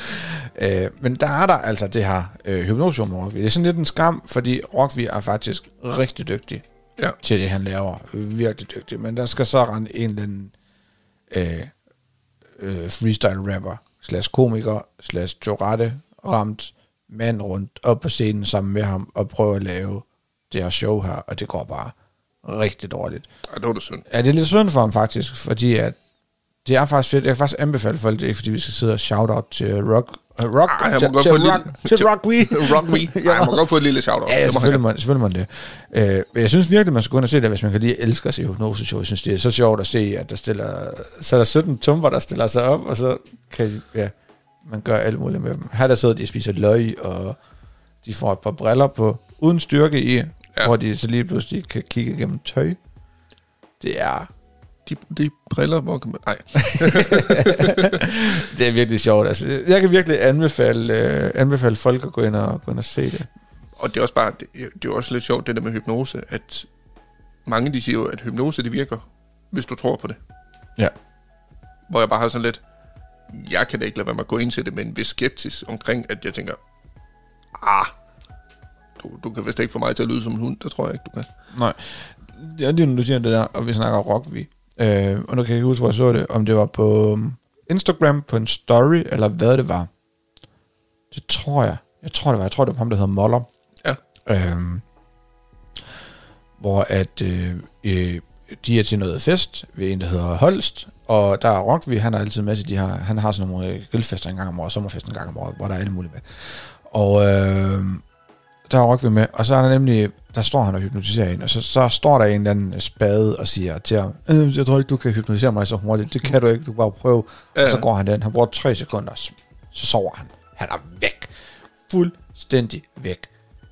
Speaker 2: Øh, men der er der altså det her øh, hypnosium med Rockvi. Det er sådan lidt en skam, fordi Rockvi er faktisk rigtig dygtig
Speaker 3: Ja.
Speaker 2: til det, han laver. Virkelig dygtig. Men der skal så rende en eller anden øh, øh, freestyle rapper, slash komiker, slash Tourette ramt mand rundt op på scenen sammen med ham og prøve at lave det her show her, og det går bare rigtig dårligt.
Speaker 3: Ej, det var da synd.
Speaker 2: Ja, det er lidt synd for ham faktisk, fordi at det er faktisk fedt. Jeg kan faktisk anbefale folk, det er ikke fordi vi skal sidde og shout-out til Rock. øh, Rock
Speaker 3: Ej, jeg
Speaker 2: til,
Speaker 3: må godt
Speaker 2: til,
Speaker 3: få et lille-
Speaker 2: rock, til
Speaker 3: til-
Speaker 2: Rock We.
Speaker 3: Rock me. Ej, jeg må godt få et lille shout-out.
Speaker 2: Ja, ja
Speaker 3: Det må han
Speaker 2: selvfølgelig, må, selvfølgelig må man det. Øh, men jeg synes virkelig, man skal gå ind og se det, hvis man kan lige elske at se hypnoseshow. Jeg synes, det er så sjovt at se, at der stiller, så er der 17 tumper, der stiller sig op, og så kan de- ja, man gøre alt muligt med dem. Her der sidder de og spiser løg, og de får et par briller på, uden styrke i, ja. hvor de så lige pludselig kan kigge igennem tøj. Det er
Speaker 3: De, de briller, hvor kan man... Nej,
Speaker 2: Det er virkelig sjovt. Altså, jeg kan virkelig anbefale, øh, anbefale folk at gå ind og, gå ind og se det.
Speaker 3: og det er også bare... Det, det er jo også lidt sjovt, det der med hypnose, at mange de siger jo, at hypnose, det virker, hvis du tror på det.
Speaker 2: Ja.
Speaker 3: Hvor jeg bare har sådan lidt... Jeg kan da ikke lade være med at gå ind til det, men hvis skeptisk omkring, at jeg tænker... Ah, du, du kan vist ikke få mig til at lyde som en hund, det tror jeg ikke, du kan.
Speaker 2: Nej. Det er lige nu, du siger det der, og vi snakker rock, vi. Øh, og nu kan jeg ikke huske, hvor jeg så det. Om det var på øhm, Instagram, på en story, eller hvad det var. Det tror jeg. Jeg tror, det var. Jeg tror, det var ham, der hedder Moller.
Speaker 3: Ja.
Speaker 2: Øhm, hvor at øh, øh, de er til noget fest ved en, der hedder Holst, og der er Rockvi, han er altid med til de her, han har sådan nogle øh, grillfester en gang om året, sommerfest en gang om året, hvor der er alt muligt med. Og øh, der er Rockvi med, og så er der nemlig, der står han og hypnotiserer en, og så, så står der en eller anden spade og siger til ham, øh, jeg tror ikke, du kan hypnotisere mig så hurtigt, det kan du ikke, du kan bare prøve.
Speaker 3: Ja.
Speaker 2: Og så går han den, han bruger tre sekunder, så så sover han. Han er væk. Fuldstændig væk.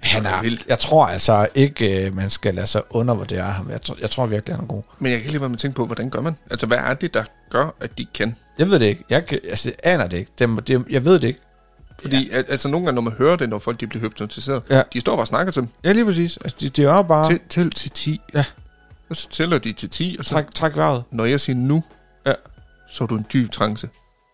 Speaker 2: Han
Speaker 3: Det er
Speaker 2: er,
Speaker 3: vildt.
Speaker 2: jeg tror altså ikke, øh, man skal lade sig undervurdere ham. Jeg, tror, jeg tror virkelig, han er god.
Speaker 3: Men jeg kan ikke lade være med at tænke på, hvordan gør man? Altså, hvad er det, der gør, at de kan?
Speaker 2: Jeg ved det ikke. Jeg, kan- altså, jeg aner det ikke. Det, må- det, jeg ved det ikke.
Speaker 3: Fordi ja. altså, nogle gange, når man hører det, når folk de bliver hypnotiseret,
Speaker 2: Ja.
Speaker 3: ja. de står bare og snakker til dem.
Speaker 2: Ja, lige præcis. Altså, det, det er jo bare...
Speaker 3: Tæl, tæl til 10.
Speaker 2: Ja.
Speaker 3: Og så tæller de til 10, og så
Speaker 2: Træk, træk vejret.
Speaker 3: når jeg siger nu,
Speaker 2: Ja.
Speaker 3: så er du en dyb trance.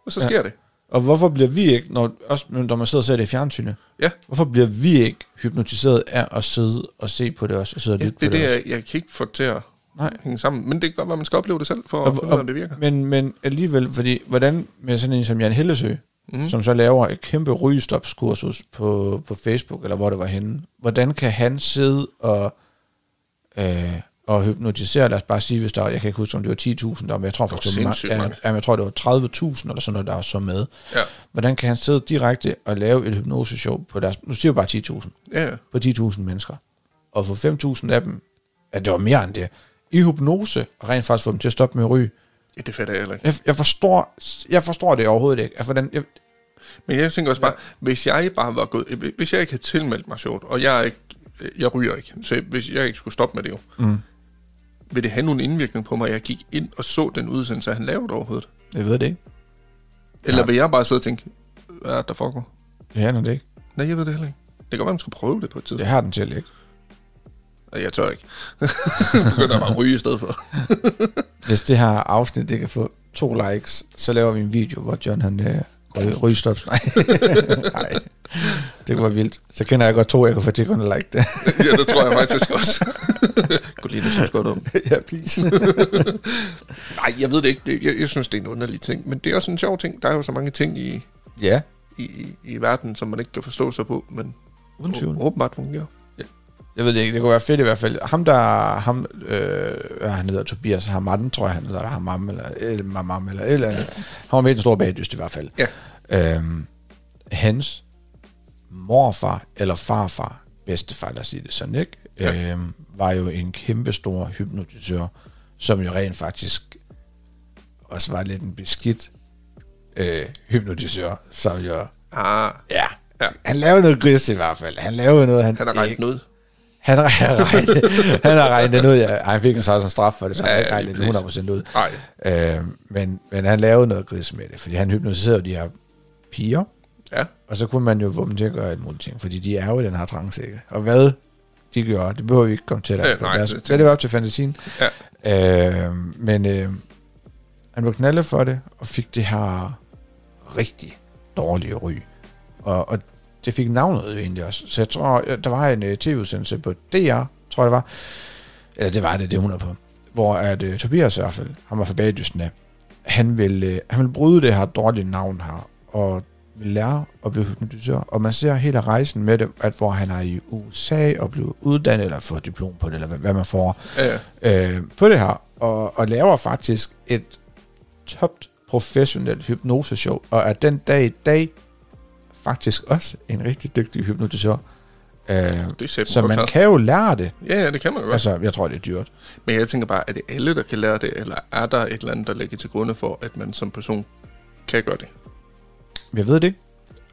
Speaker 3: Og så sker ja. det.
Speaker 2: Og hvorfor bliver vi ikke, når, også når man sidder og ser det i fjernsynet,
Speaker 3: Ja.
Speaker 2: hvorfor bliver vi ikke hypnotiseret af at sidde og se på det også, og sidde og
Speaker 3: ja
Speaker 2: lytte
Speaker 3: det er
Speaker 2: på det,
Speaker 3: det,
Speaker 2: også?
Speaker 3: jeg, jeg kan ikke få til at
Speaker 2: Nej.
Speaker 3: hænge sammen. Men det kan godt være, man skal opleve det selv, for
Speaker 2: Og-
Speaker 3: at finde ud af,
Speaker 2: og-
Speaker 3: om det virker.
Speaker 2: Men, men alligevel, fordi hvordan med sådan en som Jan Hellesø, mm.
Speaker 3: Mhm.
Speaker 2: som så laver et kæmpe rygestopskursus på, på Facebook, eller hvor det var henne, hvordan kan han sidde og, øh, og hypnotisere, lad os bare sige, hvis der, jeg kan ikke huske, om det var 10.000, der, var, men jeg tror faktisk, det var,
Speaker 3: sindssygt
Speaker 2: ja,
Speaker 3: mange.
Speaker 2: ja, men jeg tror, det var 30.000 eller sådan noget, der var så med.
Speaker 3: Ja.
Speaker 2: Hvordan kan han sidde direkte og lave et hypnoseshow på deres, nu siger jeg bare 10.000,
Speaker 3: Ja, ja.
Speaker 2: på 10.000 mennesker, og få 5.000 af dem, at det var mere end det, i hypnose, og rent faktisk få dem til at stoppe med at ryge,
Speaker 3: ja det fatter jeg heller ikke.
Speaker 2: jeg, jeg, forstår, jeg forstår det overhovedet ikke. Altså, den, jeg,
Speaker 3: Men jeg tænker også bare, hvis jeg bare var gået, hvis jeg ikke havde tilmeldt mig short, og jeg er ikke, jeg ryger ikke, så hvis jeg ikke skulle stoppe med det jo,
Speaker 2: Mm.
Speaker 3: vil det have nogen indvirkning på mig, at jeg gik ind og så den udsendelse, han lavede overhovedet?
Speaker 2: jeg ved det ikke.
Speaker 3: Eller
Speaker 2: Nej.
Speaker 3: vil jeg bare sidde og tænke, hvad er det, der foregår?
Speaker 2: Det er den ikke.
Speaker 3: Nej, jeg ved det heller ikke. Det kan godt være, man skal prøve det på et
Speaker 2: Det
Speaker 3: tidspunkt.
Speaker 2: har den til ikke.
Speaker 3: Ja. Jeg tør ikke. Begynder bare at ryge i stedet for.
Speaker 2: Hvis det her afsnit det kan få to likes, så laver vi en video, hvor John han øh, ry- rygestops. Nej. Nej. Det kunne være vildt. Så kender jeg godt to, jeg kan få til kun at like det.
Speaker 3: ja, det tror jeg faktisk også. Godt lige, det synes godt om.
Speaker 2: ja, please.
Speaker 3: Nej, jeg ved det ikke. Det, jeg, jeg, synes, det er en underlig ting. Men det er også en sjov ting. Der er jo så mange ting i,
Speaker 2: ja,
Speaker 3: i, i, i verden, som man ikke kan forstå sig på, men
Speaker 2: uden tvivl.
Speaker 3: å- åbenbart fungerer.
Speaker 2: Jeg ved det ikke, det kunne være fedt i hvert fald. Ham der, ham, øh, hvad han hedder Tobias Hamam, tror jeg han hedder, eller Hamam, eller, eller Mamam, eller et eller andet. Han var med i den store bagdyst i hvert fald.
Speaker 3: Ja.
Speaker 2: Øhm, hans morfar eller farfar bedstefar, lad os sige det sådan, ikke? Ja. Øhm, var jo en kæmpe stor hypnotisør, som jo rent faktisk også var lidt en beskidt øh, hypnotisør, som jo,
Speaker 3: Ah,
Speaker 2: ja,
Speaker 3: Ja.
Speaker 2: ja, han lavede noget gris i hvert fald. Han lavede noget, han,
Speaker 3: han har regnet
Speaker 2: ikke-
Speaker 3: noget.
Speaker 2: han, har- han, har regnet, han har regnet den ud. Ja, Ej, han fik en slags en straf for det, så han
Speaker 3: Ja,
Speaker 2: ja, ikke
Speaker 3: ja,
Speaker 2: regnet
Speaker 3: lige
Speaker 2: det 100% ud.
Speaker 3: Nej,
Speaker 2: Øh, men, men han lavede noget gris med det, fordi han hypnotiserede jo de her piger,
Speaker 3: ja.
Speaker 2: og så kunne man jo få dem til at gøre alt muligt ting, fordi de er jo i den her trance, ikke? Og hvad de gør, det behøver vi ikke komme til
Speaker 3: Øh,
Speaker 2: dig.
Speaker 3: nej,
Speaker 2: det,
Speaker 3: det
Speaker 2: det, det var op til fantasien.
Speaker 3: Ja.
Speaker 2: Øh, men øh, han blev knaldet for det, og fik det her rigtig dårlige ry. Og, og det fik navnet jo egentlig også. Så jeg tror, øh, der var en øh, tv-udsendelse på DR, tror jeg det var. Eller det var det, det er hun er på. Hvor at øh, Tobias i hvert fald, ham var fra Bagdysten af, han vil, øh, han vil bryde det her dårlige navn her, og vil lære at blive hypnotisør. Og man ser hele rejsen med det, at hvor han er i USA og bliver uddannet, eller får diplom på det, eller hvad, hvad man får
Speaker 3: Ja,
Speaker 2: øh, på det her, og, og laver faktisk et topt professionelt hypnoseshow, og er den dag i dag faktisk også en rigtig dygtig hypnotisør. Øh,
Speaker 3: det er sæt
Speaker 2: så man kan jo lære det.
Speaker 3: Ja, ja, det kan man godt.
Speaker 2: Altså, jeg tror, det er dyrt.
Speaker 3: Men jeg tænker bare, er det alle, der kan lære det, eller er der et eller andet, der ligger til grunde for, at man som person kan gøre det?
Speaker 2: Jeg ved det ikke.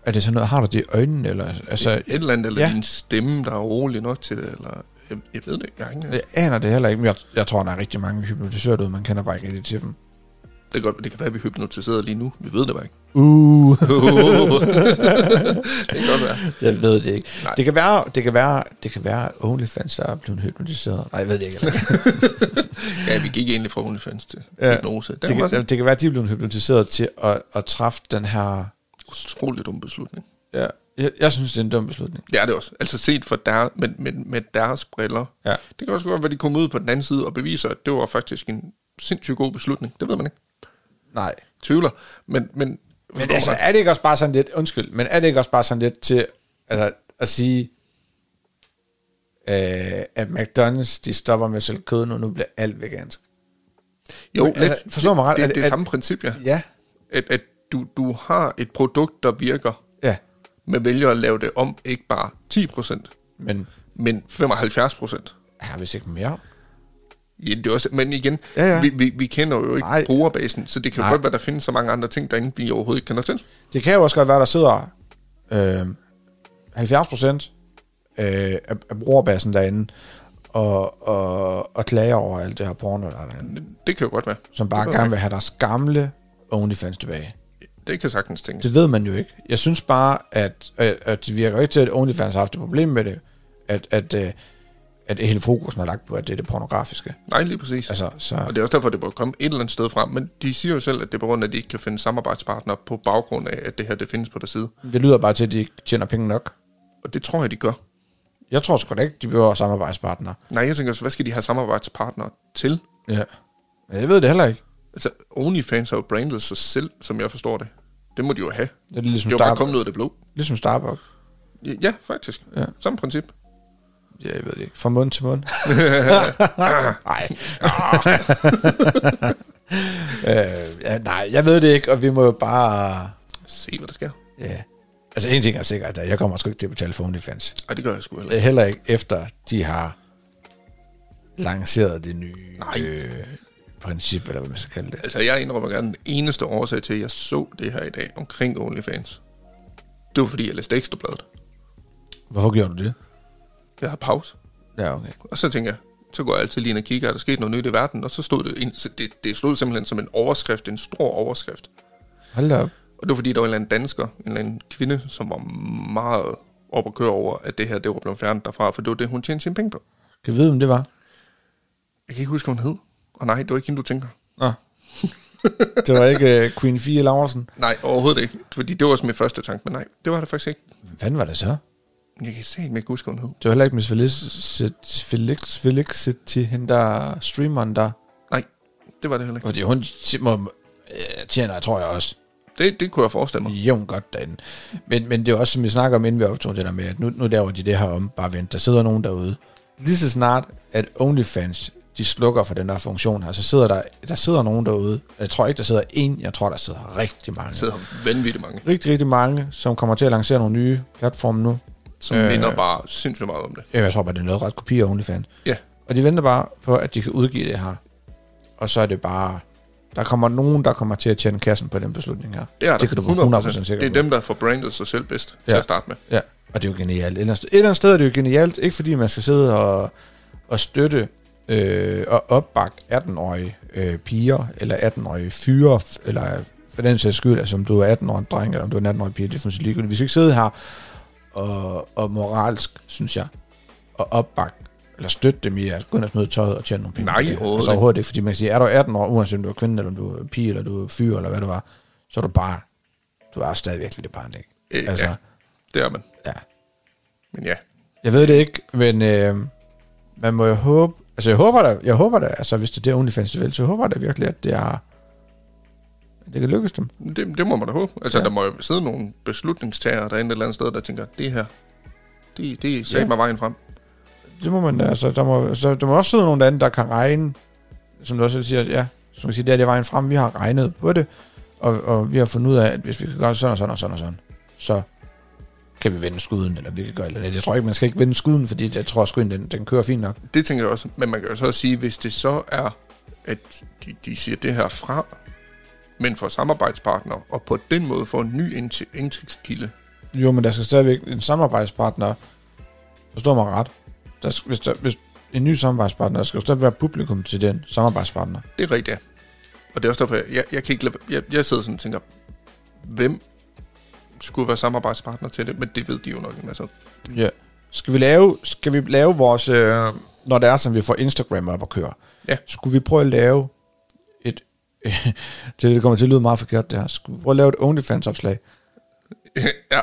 Speaker 2: Er det sådan noget, har du det i øjnene? Eller, altså,
Speaker 3: et eller andet, eller ja.
Speaker 2: ja.
Speaker 3: din stemme, der er rolig nok til det, eller... Jeg, jeg ved det ikke, jeg har ingen-
Speaker 2: jeg aner det heller ikke, men jeg, jeg tror, der er rigtig mange hypnotisører derude, man kender bare ikke rigtig til dem.
Speaker 3: Det, kan godt, det kan være, at vi er hypnotiseret lige nu. Vi ved det bare ikke.
Speaker 2: Uh.
Speaker 3: det kan godt være.
Speaker 2: Jeg ved det ikke.
Speaker 3: Nej.
Speaker 2: Det kan være, det kan være, det kan være at OnlyFans der er blevet hypnotiseret. Nej, jeg ved det ikke.
Speaker 3: Ja, vi gik egentlig fra OnlyFans til ja.
Speaker 2: Ja.
Speaker 3: hypnose. Det,
Speaker 2: det,
Speaker 3: var
Speaker 2: kan,
Speaker 3: også
Speaker 2: det kan være, at de er blevet hypnotiseret til at, at træffe den her...
Speaker 3: en utrolig dum beslutning.
Speaker 2: Ja, jeg, jeg synes, det er en dum beslutning.
Speaker 3: Det er det også. Altså set fra der, med, med, med deres briller.
Speaker 2: Ja.
Speaker 3: Det kan også godt være, at de kommer ud på den anden side og beviser, at det var faktisk en sindssygt god beslutning. Det ved man ikke.
Speaker 2: Nej.
Speaker 3: Tvivler. Men, men,
Speaker 2: Men altså, er det ikke også bare sådan lidt... Undskyld, men er det ikke også bare sådan lidt til altså, at sige, øh, at McDonald's, de stopper med at sælge kød nu, nu bliver alt vegansk?
Speaker 3: jo,
Speaker 2: altså,
Speaker 3: lidt.
Speaker 2: forstår mig ret,
Speaker 3: Det er
Speaker 2: er
Speaker 3: det,
Speaker 2: det-
Speaker 3: det
Speaker 2: er-
Speaker 3: samme princip, ja.
Speaker 2: Ja.
Speaker 3: At, at du, du har et produkt, der virker,
Speaker 2: Ja,
Speaker 3: men vælger at lave det om, ikke bare 10%,
Speaker 2: men
Speaker 3: men 75%.
Speaker 2: har vi ikke mere?
Speaker 3: Ja, det er også, men igen, ja,
Speaker 2: Ja,
Speaker 3: ja.
Speaker 2: ja.
Speaker 3: Vi, vi, vi kender jo ikke Nej.
Speaker 2: Nej.
Speaker 3: brugerbasen, så det kan jo
Speaker 2: Nej.
Speaker 3: godt være, der findes så mange andre ting derinde, vi overhovedet ikke kender til.
Speaker 2: Det kan jo også godt være, der sidder øh, 70 procent øh, af, af brugerbassen derinde og, og, og klager over alt det her porno, der er derinde,
Speaker 3: Det, det kan jo godt være.
Speaker 2: som bare
Speaker 3: Det
Speaker 2: gerne vil have deres gamle OnlyFans tilbage.
Speaker 3: Det kan sagtens tænkes.
Speaker 2: Det ved man jo ikke. Jeg synes bare, at, at, at det virker jo ikke til, at OnlyFans har haft et problem med det, at, at, øh, at hele fokusen er lagt på, at det er det pornografiske.
Speaker 3: Nej, lige præcis. Altså,
Speaker 2: Altså, så,
Speaker 3: og det er også derfor, det må komme et eller andet sted fra. Men de siger jo selv, at det er på grund af, at de ikke kan finde samarbejdspartnere på baggrund af, at det her det findes på deres side.
Speaker 2: det lyder bare til, at de ikke tjener penge nok.
Speaker 3: Og det tror jeg, de gør.
Speaker 2: Jeg tror sgu da ikke, de behøver samarbejdspartnere.
Speaker 3: Nej, jeg tænker også, hvad skal de have samarbejdspartnere til?
Speaker 2: Ja. Men jeg ved det heller ikke.
Speaker 3: Altså, OnlyFans har jo brandet sig selv, som jeg forstår det. Det må de jo have.
Speaker 2: Det er ligesom,
Speaker 3: Det var bare
Speaker 2: Starbucks.
Speaker 3: kommet ud af det blå.
Speaker 2: ligesom Starbucks.
Speaker 3: Ja, Ja, faktisk. Ja.
Speaker 2: Ja.
Speaker 3: Samme princip.
Speaker 2: Ja, jeg ved det ikke. Fra mund til mund. nej. øh, ja, nej, jeg ved det ikke, og vi må jo bare...
Speaker 3: Se, hvad der sker.
Speaker 2: Ja. Altså, en ting er sikkert, at jeg kommer sgu ikke til at betale for OnlyFans. Øh,
Speaker 3: Og det gør jeg sgu heller ikke.
Speaker 2: Heller ikke efter, de har lanceret det nye
Speaker 3: Nej.
Speaker 2: øh, princip, eller hvad man skal kalde det.
Speaker 3: Altså, jeg indrømmer gerne den eneste årsag til, at jeg så det her i dag omkring OnlyFans. Det var, fordi jeg læste Ekstrabladet.
Speaker 2: Hvorfor gjorde du det?
Speaker 3: Jeg havde pause.
Speaker 2: Ja, okay.
Speaker 3: Og så tænker jeg, så går jeg altid lige ind og kigger, er der sket noget nyt i verden? Og så stod det, en, så det, det stod simpelthen som en overskrift, en stor overskrift.
Speaker 2: Hold da op.
Speaker 3: Og det var, fordi der var en eller anden dansker, en eller anden kvinde, som var meget op at køre over, at det her, det var blevet fjernet derfra, for det var det, hun tjente sine penge på.
Speaker 2: Kan vi vide, om det var?
Speaker 3: Jeg kan ikke huske, hvad hun hed. Og nej, det var ikke hende, du tænker.
Speaker 2: Nå. det var ikke øh, Queen Fie Laversen.
Speaker 3: Nej, overhovedet ikke. Fordi det var også min første tanke, men nej, det var det faktisk ikke.
Speaker 2: Hvad var det så?
Speaker 3: Jeg kan se, om jeg kan huske, hvad hun hed.
Speaker 2: Det var heller ikke Miss Felicity, Felix, Felicity, hende der streameren der.
Speaker 3: Nej, det var det heller ikke.
Speaker 2: Fordi hun må, øh, tjener, tror jeg også,
Speaker 3: Det, det kunne jeg forestille mig.
Speaker 2: jævn godt derinde. Men, men det er jo også, som vi snakker om, inden vi optog det der med, at nu, nu laver de det her om, bare vent, der sidder nogen derude. Lige så snart, at OnlyFans, de slukker for den der funktion her, så sidder der, der sidder nogen derude. Jeg tror ikke, der sidder en, jeg tror, der sidder rigtig mange.
Speaker 3: Der sidder vanvittigt mange.
Speaker 2: Rigtig, rigtig mange, som kommer til at lancere nogle nye platforme nu.
Speaker 3: som øh, minder bare sindssygt meget om det.
Speaker 2: Jamen, Øh, jeg tror bare, det er noget ret kopi af OnlyFans.
Speaker 3: Ja.
Speaker 2: Og de venter bare på, at de kan udgive det her. Og så er det bare... Der kommer nogen, der kommer til at tjene kassen på den beslutning her.
Speaker 3: Det er
Speaker 2: det
Speaker 3: der
Speaker 2: kan du være 100% sikker
Speaker 3: Det er
Speaker 2: på.
Speaker 3: dem, der får brandet sig selv bedst ja. til
Speaker 2: Ja.
Speaker 3: at starte med.
Speaker 2: Ja, og det er jo genialt. Et eller andet sted, et eller andet sted er det jo genialt, ikke fordi man skal sidde og, og støtte øh, og opbakke 18-årige øh, piger, eller 18-årige fyre, f- eller for den sags skyld, altså om du er 18-årig dreng, eller om du er en 18-årig pige, det er fuldstændig ligegyldigt. Vi skal ikke sidde her og, og moralsk, synes jeg, og opbakke eller støtte dem i at gå ind og smide tøjet og tjene nogle penge.
Speaker 3: Nej,
Speaker 2: på det.
Speaker 3: overhovedet
Speaker 2: altså,
Speaker 3: ikke.
Speaker 2: overhovedet ikke. Fordi man kan sige, er du 18 år, uanset om du er kvinde, eller om du er pige, eller du er fyr, eller hvad du var, så er du bare, du er stadigvæk lidt barn, ikke?
Speaker 3: Øh,
Speaker 2: altså,
Speaker 3: ja. Det er man.
Speaker 2: ja.
Speaker 3: Men ja,
Speaker 2: Jeg ved det ikke, men øh, man må jo håbe... Altså, jeg håber da, jeg håber da altså, hvis det er det OnlyFans, de vil, så håber jeg da virkelig, at det er... at Det kan lykkes dem.
Speaker 3: det, det må man da håbe. Altså,
Speaker 2: Ja.
Speaker 3: ja. der må jo sidde nogle beslutningstagere derinde et eller andet sted, der tænker, det her, det, det sagde
Speaker 2: Ja.
Speaker 3: ja. mig vejen frem.
Speaker 2: Det må man, altså, der må, så, der må også sidde nogen derinde, der kan regne, som du også selv siger, ja, som man siger, det er det er vejen frem, vi har regnet på det, og, og vi har fundet ud af, at hvis vi kan gøre sådan og sådan og sådan og sådan, så kan vi vende skuden, eller vi kan gøre, eller jeg tror ikke, man skal ikke vende skuden, fordi jeg tror, at skuden, den, den kører fint nok.
Speaker 3: Det tænker jeg også. Men man kan jo så også sige, hvis det så er, at de, de siger det her fra, men for samarbejdspartnere, og på den måde får en ny indtæ- indtægtskilde.
Speaker 2: Jo, men der skal stadigvæk en samarbejdspartner, forstår mig ret, der skal, hvis, der, hvis en ny samarbejdspartner, der skal jo stadigvæk være publikum til den samarbejdspartner.
Speaker 3: Det er rigtigt, ja. Og det er også derfor, jeg, jeg, jeg kan ikke lade, jeg, jeg sidder sådan og tænker, hvem skulle være samarbejdspartner til det, men altså, det ved de jo nok en masse om.
Speaker 2: Ja. Skal vi lave, skal vi lave vores, øh, når det er som vi får Instagram op at køre,
Speaker 3: Ja.
Speaker 2: skulle vi prøve at lave et, det, det kommer til at lyde meget forkert det her, skulle vi prøve at lave et OnlyFans-opslag?
Speaker 3: ja,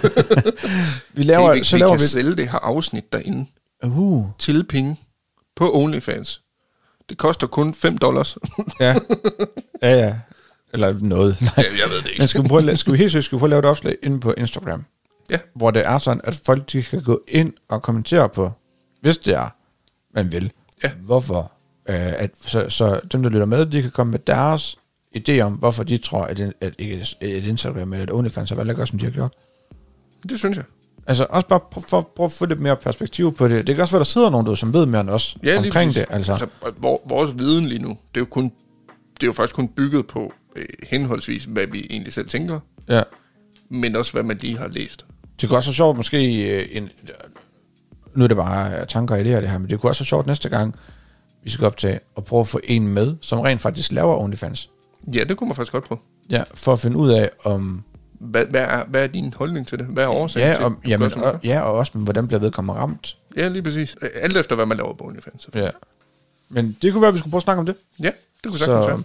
Speaker 2: Hvor- vi
Speaker 3: det
Speaker 2: laver,
Speaker 3: er vigtigt,
Speaker 2: så
Speaker 3: vi
Speaker 2: laver
Speaker 3: kan
Speaker 2: vi,
Speaker 3: sælge det her afsnit derinde
Speaker 2: uh,
Speaker 3: til penge på OnlyFans. Det koster kun 5 dollars.
Speaker 2: ja, ja, ja, eller noget, nej.
Speaker 3: ja, jeg ved det ikke.
Speaker 2: Men skal vi, prøve, at la- skal vi helt seriøst skal vi prøve at lave et opslag inde på Instagram?
Speaker 3: Ja.
Speaker 2: Hvor det er sådan, at folk de kan gå ind og kommentere på, hvis det er, man vil.
Speaker 3: Ja.
Speaker 2: Hvorfor? Øh, at, så, så dem, der lytter med, de kan komme med deres idé om, hvorfor de tror, at, en- at, ikke et Instagram eller et OnlyFans har valgt at gøre, som de har gjort.
Speaker 3: Det synes jeg.
Speaker 2: Altså også bare prøv, for, prøv at få lidt mere perspektiv på det. Det kan også være, der sidder nogen, du, som ved mere end os
Speaker 3: Ja, lige
Speaker 2: omkring det.
Speaker 3: præcis.
Speaker 2: Altså.
Speaker 3: Altså, vor, vores viden lige nu, det er jo, kun, det er jo faktisk kun bygget på øh, henholdsvis, hvad vi egentlig selv tænker,
Speaker 2: ja.
Speaker 3: men også hvad man lige har læst.
Speaker 2: Det kunne også være sjovt, måske øh, en... Nu er det bare øh, tanker og idéer, det her, men det kunne også være sjovt næste gang, vi skal op til at prøve at få en med, som rent faktisk laver OnlyFans.
Speaker 3: Ja, det kunne man faktisk godt prøve.
Speaker 2: Ja, for at finde ud af, om...
Speaker 3: Hvad, hvad, er, hvad er din holdning til det? Hvad er årsagen til,
Speaker 2: Ja,
Speaker 3: at
Speaker 2: om,
Speaker 3: du gør,
Speaker 2: jamen,
Speaker 3: som du
Speaker 2: og, ja og også, men hvordan bliver vedkommende ramt?
Speaker 3: gør? ja, lige præcis. Øh, Alt efter, hvad man laver på OnlyFans.
Speaker 2: Ja. Men det kunne være, at vi skulle prøve at snakke om det.
Speaker 3: Ja, det kunne sagtens
Speaker 2: Så,
Speaker 3: være.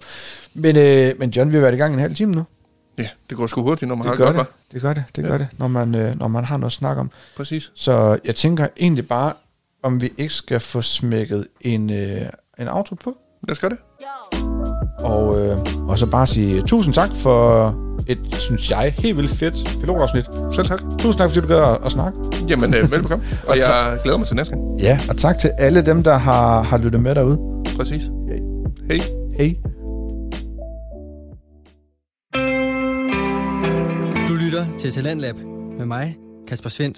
Speaker 2: men, øh, men John, vi har været i gang en halv time nu.
Speaker 3: Ja, det går sgu hurtigt, når man har
Speaker 2: Det
Speaker 3: det
Speaker 2: gør
Speaker 3: godt,
Speaker 2: det.
Speaker 3: hva'?
Speaker 2: Det gør det, det gør det, når man, øh, når man har noget at snakke om.
Speaker 3: Præcis.
Speaker 2: Så jeg tænker egentlig bare, om vi ikke skal få smækket en, øh, en auto på.
Speaker 3: Lad os gøre det.
Speaker 2: Og, øh, og så bare sige øh, tusind tak for et, synes jeg, helt vildt fedt pilotafsnit.
Speaker 3: Selv tak.
Speaker 2: Tusind tak, fordi du gad at, at snakke.
Speaker 3: Jamen, øh, velbekomme. Og jeg glæder mig til næste gang.
Speaker 2: Ja, og tak til alle dem, der har, har lyttet med derude.
Speaker 3: Præcis. Hej.
Speaker 2: Hej.
Speaker 1: Du lytter til Talentlab med mig, Kasper Svendt.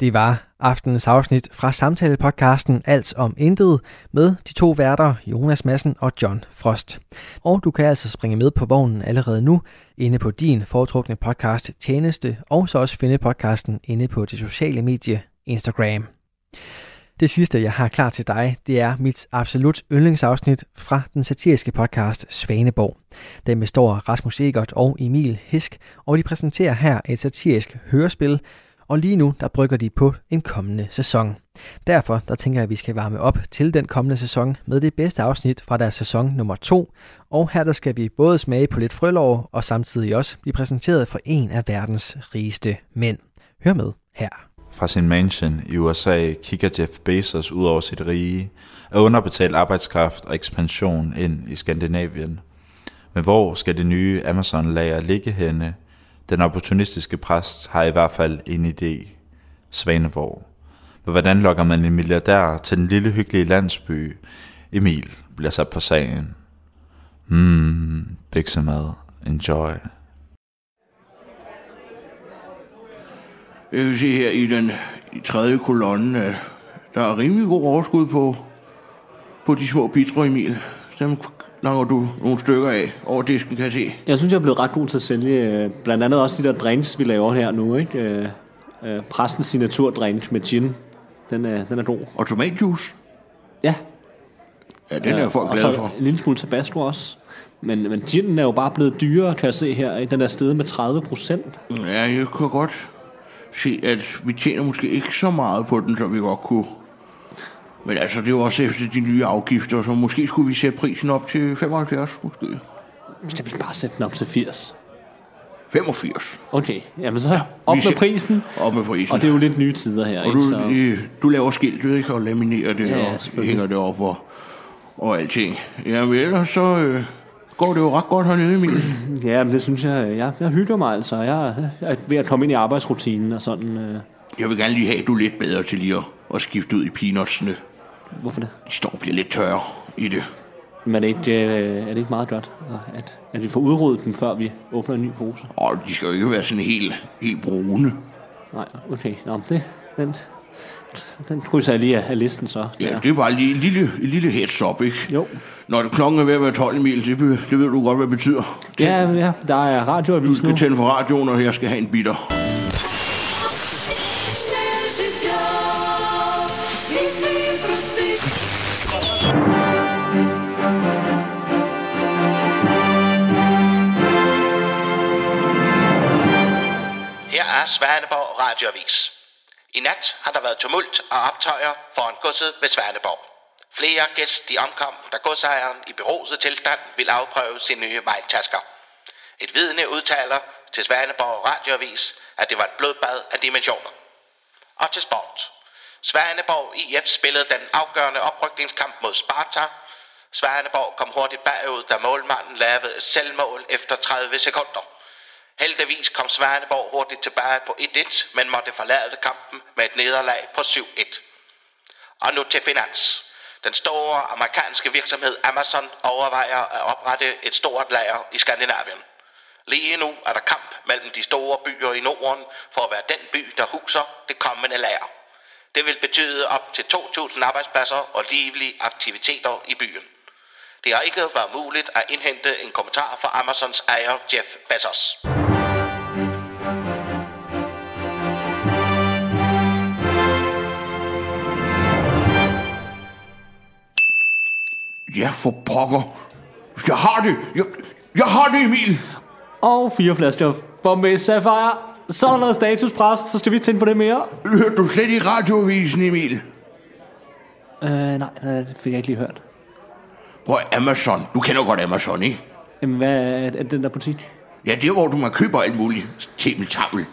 Speaker 1: Det var aftenens afsnit fra samtalepodcasten Alt om Intet med de to værter Jonas Madsen og John Frost. Og du kan altså springe med på vognen allerede nu inde på din foretrukne podcast Tjeneste og så også finde podcasten inde på det sociale medie Instagram. Det sidste, jeg har klar til dig, det er mit absolut yndlingsafsnit fra den satiriske podcast Svaneborg. Den består af Rasmus Egert og Emil Hisk, og de præsenterer her et satirisk hørespil, og lige nu der brygger de på en kommende sæson. Derfor der tænker jeg, at vi skal varme op til den kommende sæson med det bedste afsnit fra deres sæson nummer 2, og her der skal vi både smage på lidt frølov og samtidig også blive præsenteret for en af verdens rigeste mænd. Hør med her.
Speaker 4: Fra sin mansion i USA kigger Jeff Bezos ud over sit rige af underbetalt arbejdskraft og ekspansion ind i Skandinavien. Men hvor skal det nye Amazon-lager ligge henne? Den opportunistiske præst har i hvert fald en idé. Svaneborg. Men hvordan lokker man en milliardær til den lille hyggelige landsby? Emil bliver sat på sagen. Hmm, biksemad. Enjoy.
Speaker 5: Jeg kan Øh, se her i den i tredje kolonne, at der er rimelig god overskud på, på de små bidro, Emil. Dem langer du nogle stykker af over disken, kan jeg se.
Speaker 6: Jeg synes, jeg er blevet ret god til at sælge øh, blandt andet også de der drinks, vi laver her nu. Ikke? Øh, øh, præstens signaturdrink med gin. Den er, den er god.
Speaker 5: Og tomatjuice.
Speaker 6: Ja.
Speaker 5: Ja, den er folk
Speaker 6: Øh, og så
Speaker 5: glade for.
Speaker 6: en lille smule tabasco også. Men, men ginen er jo bare blevet dyrere, kan jeg se her. ikke? Den er steget med 30 procent.
Speaker 5: Ja, jeg kan godt se, at vi tjener måske ikke så meget på den, som vi godt kunne. Men altså, det er jo også efter de nye afgifter, så måske skulle vi sætte prisen op til 75, måske.
Speaker 6: Skal vi bare sætte den op til 80?
Speaker 5: 85.
Speaker 6: Okay, jamen så op
Speaker 5: Vi
Speaker 6: med
Speaker 5: sæt-
Speaker 6: prisen.
Speaker 5: Op med prisen.
Speaker 6: Og det er jo lidt nye tider her,
Speaker 5: Og
Speaker 6: ikke?
Speaker 5: du,
Speaker 6: Så,
Speaker 5: øh, du laver skiltet, ikke? Og laminerer det,
Speaker 6: Ja,
Speaker 5: ja, og
Speaker 6: selvfølgelig.
Speaker 5: hænger det op og, og alting. Jamen ellers så øh, går det jo ret godt hernede, Emil.
Speaker 6: ja, men det synes jeg, øh, jeg, jeg hygger mig altså. Jeg er ved at komme ind i arbejdsrutinen og sådan. Øh,
Speaker 5: Jeg vil gerne lige have, at du er lidt bedre til lige at, at skifte ud i peanutsene.
Speaker 6: hvorfor det?
Speaker 5: De står og bliver lidt tørre i det.
Speaker 6: Men er det ikke, øh, er det ikke meget godt, at, at vi får udryddet dem, før vi åbner en ny pose?
Speaker 5: Og de skal jo ikke være sådan helt, helt brune.
Speaker 6: Nej, okay. Nå, men det, den, den krydser jeg lige af, af listen så.
Speaker 5: Ja,
Speaker 6: Der.
Speaker 5: det er bare lige en lille, en lille heads up, ikke?
Speaker 6: Jo.
Speaker 5: Når det klokken er ved at være 12, Emil, det, be- det ved du godt, hvad det betyder.
Speaker 6: ja, ja, der er
Speaker 5: Du
Speaker 6: radioavis nu.
Speaker 5: skal tænde for radioen, og jeg skal have en bitter.
Speaker 7: життя, візьми прости.
Speaker 8: Her er Svaneborg Radioavis. I nat har der været tumult og optøjer foran godset ved Svaneborg. Flere gæst de omkom, da godsejeren i beruset tilstand ville afprøve sine nye vejtasker. Et vidne udtaler til Svaneborg Radioavis, at det var et blodbad af dimensioner. Og til sport. Svaneborg IF spillede den afgørende oprykningskamp mod Sparta. Svaneborg kom hurtigt bagud, da målmanden lavede et selvmål efter 30 sekunder. Heldigvis kom Svaneborg hurtigt tilbage på 1-1, men måtte forlade kampen med et nederlag på 7-1. Og nu til finans. Den store amerikanske virksomhed Amazon overvejer at oprette et stort lager i Skandinavien. Lige nu er der kamp mellem de store byer i Norden for at være den by, der huser det kommende lager. Det vil betyde op til 2.000 arbejdspladser og livlige aktiviteter i byen. Det har ikke været muligt at indhente en kommentar fra Amazons ejer Jeff Bezos.
Speaker 5: Ja, for pokker. Jeg har det. Jeg, jeg har det, Emil.
Speaker 6: Og fire flasker Bombay Sapphire. Så er der statuspres, så skal vi ikke tænde på det mere.
Speaker 5: Hørte du slet ikke radioavisen, Emil?
Speaker 6: Øh, nej, nej, det fik jeg ikke lige hørt.
Speaker 5: Prøv at- Amazon. Du kender godt Amazon, ikke?
Speaker 6: Jamen, hvad er, er den der butik?
Speaker 5: Ja, det er, hvor du man køber alt muligt. Temmeltavl.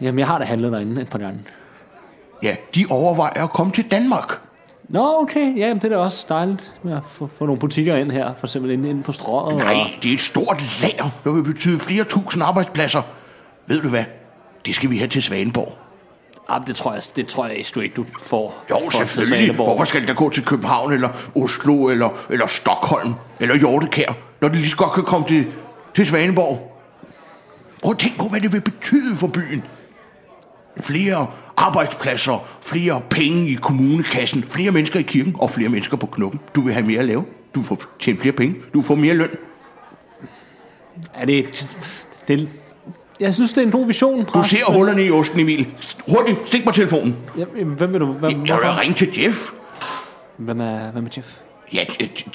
Speaker 6: Jamen, jeg har da handlet derinde et par gange.
Speaker 5: Ja, de overvejer at komme til Danmark.
Speaker 6: Nå, okay. Ja, jamen, det er da også dejligt med at få, få nogle butikker ind her. For eksempel inde, inde på strøget.
Speaker 5: Nej,
Speaker 6: Og,
Speaker 5: det er et stort lager, der vil betyde flere tusind arbejdspladser. Ved du hvad? Det skal vi have til Svaneborg.
Speaker 6: jamen, det tror jeg, det tror jeg sgu ikke, du får.
Speaker 5: Jo,
Speaker 6: får til
Speaker 5: selvfølgelig.
Speaker 6: Svaneborg.
Speaker 5: Hvorfor skal det da gå til København, eller Oslo, eller, eller Stockholm, eller Hjortekær, når det lige så godt kan komme til, til Svaneborg? Prøv at tænk på, hvad det vil betyde for byen. Flere arbejdspladser, flere penge i kommunekassen, flere mennesker i kirken og flere mennesker på knoppen. Du vil have mere at lave. Du får tjene flere penge. Du får mere løn.
Speaker 6: Er det, det... Jeg synes, det er en god vision,
Speaker 5: Du
Speaker 6: præst.
Speaker 5: ser hullerne i osten, Emil. Hurtigt, stik mig telefonen.
Speaker 6: Jamen, hvem vil du... Hvem,
Speaker 5: Jeg vil ringe til Jeff.
Speaker 6: Hvem er, hvem er Jeff?
Speaker 5: Ja,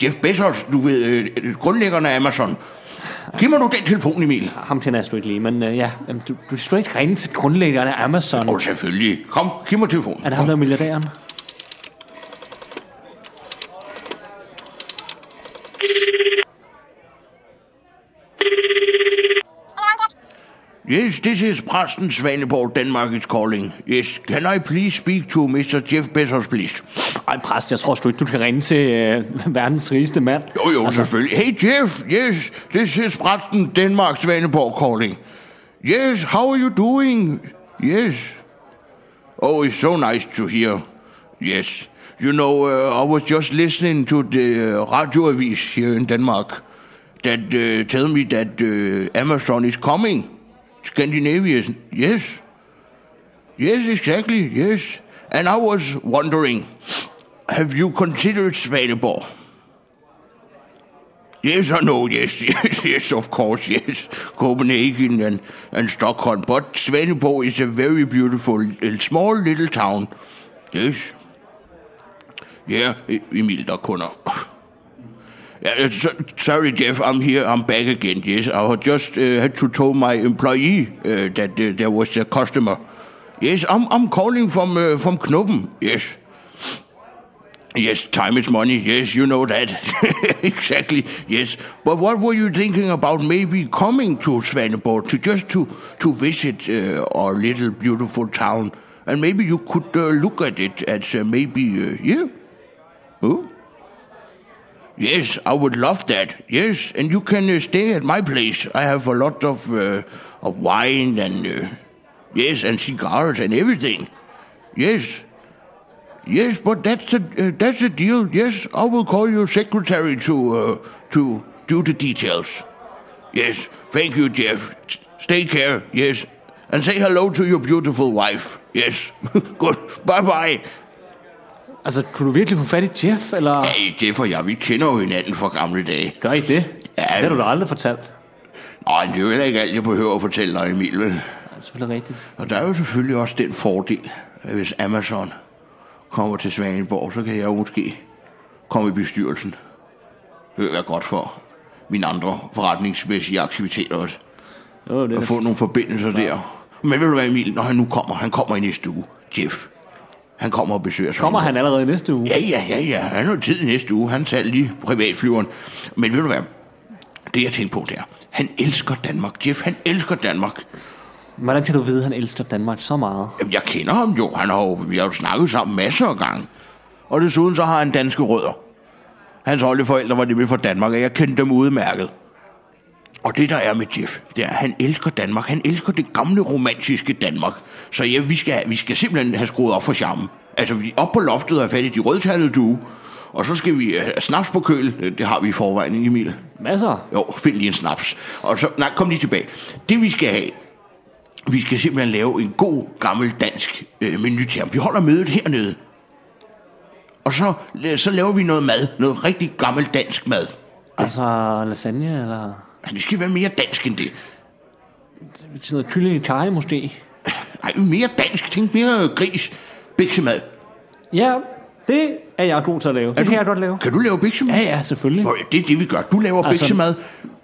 Speaker 5: Jeff Bezos, du ved, øh, grundlæggeren af Amazon. Giv mig nu den telefon, Emil.
Speaker 6: Ah, Ham kender jeg sgu ikke lige, men uh, ja, jamen, du, du skal ikke ringe til grundlæggeren af Amazon.
Speaker 5: Åh, oh, selvfølgelig. Kom, giv mig telefonen.
Speaker 6: Er det ham, der er milliardæren?
Speaker 5: Yes, this is Præsten Svaneborg, Denmark is calling. Yes, can I please speak to Mr. Jeff Bezos, please?
Speaker 6: Ej, præst, jeg tror sgu ikke, du kan ringe til øh, verdens rigeste mand.
Speaker 5: Jo, jo, altså... selvfølgelig. Hey, Jeff, yes, this is Præsten Denmark Svaneborg calling. Yes, how are you doing? Yes. Oh, it's so nice to hear. Yes. You know, uh, I was just listening to the uh, radioavis here in Denmark that uh, tell me that uh, Amazon is coming. Scandinavian, yes. Yes, exactly, yes. And I was wondering, have you considered Svaneborg? Yes or no? Yes, yes, yes, of course, yes. Copenhagen and, and Stockholm. But Svaneborg is a very beautiful, a small little town. Yes. Yeah, E- Emil, der er kunder. Yeah, uh, so- sorry, Jeff. I'm here. I'm back again. Yes, I had just uh, had to tell my employee uh, that uh, there was a customer. Yes, I'm I'm calling from uh, from Knoppen. Yes. Yes, time is money. Yes, you know that. exactly. Yes. But what were you thinking about maybe coming to Svaneborg to just to to visit uh, our little beautiful town and maybe you could uh, look at it as uh, maybe uh, yeah. Huh? Yes, I would love that. Yes, and you can uh, stay at my place. I have a lot of, uh, of wine and uh, yes, and cigars and everything. Yes, yes, but that's a uh, that's a deal. Yes, I will call your secretary to uh, to do the details. Yes, thank you, Jeff. S- Stay care. Yes, and say hello to your beautiful wife. Yes, good. Bye bye.
Speaker 9: Altså, kunne du virkelig få fat i Jeff, eller...
Speaker 5: Hey, Jeff og jeg, vi kender jo hinanden fra gamle dage.
Speaker 9: Gør I det?
Speaker 5: Ja.
Speaker 9: Ja, det har du da aldrig fortalt.
Speaker 5: Nej, det er jo heller ikke alt, jeg behøver at fortælle dig, Emil. vel?
Speaker 9: Det er selvfølgelig rigtigt.
Speaker 5: Og der er jo selvfølgelig også den fordel, at hvis Amazon kommer til Svaneborg, så kan jeg jo måske komme i bestyrelsen. Det vil være godt for mine andre forretningsmæssige aktiviteter også.
Speaker 9: Jo, det er
Speaker 5: At få nogle forbindelser der. Men ved du hvad, Emil, når han nu kommer, han kommer i næste uge. Jeff, han kommer og besøger sig.
Speaker 9: Kommer han allerede i næste uge?
Speaker 5: Ja, ja, ja, ja. Han har tid i næste uge. Han tager lige privatflyveren. Men ved du hvad? Det jeg tænkte på, der. Han elsker Danmark. Jeff, han elsker Danmark.
Speaker 9: Hvordan kan du vide, at han elsker Danmark så meget?
Speaker 5: Jamen, jeg kender ham jo. Han har jo, vi har jo snakket sammen masser af gange. Og desuden så har han danske rødder. Hans oldeforældre var nemlig fra Danmark, og jeg kendte dem udmærket. Og det, der er med Jeff, det er, at han elsker Danmark. Han elsker det gamle romantiske Danmark. Så ja, vi skal, vi skal simpelthen have skruet op for charmen. Altså, vi op på loftet og have fat i de rødtallede due. Og så skal vi øh, have snaps på køl. Det har vi i forvejen, ikke, Emil?
Speaker 9: Masser.
Speaker 5: Jo, find lige en snaps. Og så, nej, kom lige tilbage. Det vi skal have, vi skal simpelthen lave en god, gammel dansk øh, menu til ham. Vi holder mødet hernede. Og så, øh, så laver vi noget mad. Noget rigtig gammel dansk mad.
Speaker 9: Altså lasagne, eller...
Speaker 5: Altså, det skal være mere dansk end det.
Speaker 9: Sådan noget kylling i karry, måske?
Speaker 5: Nej, mere dansk. Tænk mere gris. Biksemad.
Speaker 9: Ja, det er jeg god til at lave. det kan jeg godt lave.
Speaker 5: Kan du lave biksemad?
Speaker 9: Ja, ja, selvfølgelig.
Speaker 5: Nå, ja, det er det, vi gør. Du laver altså,
Speaker 9: Altså-
Speaker 5: biksemad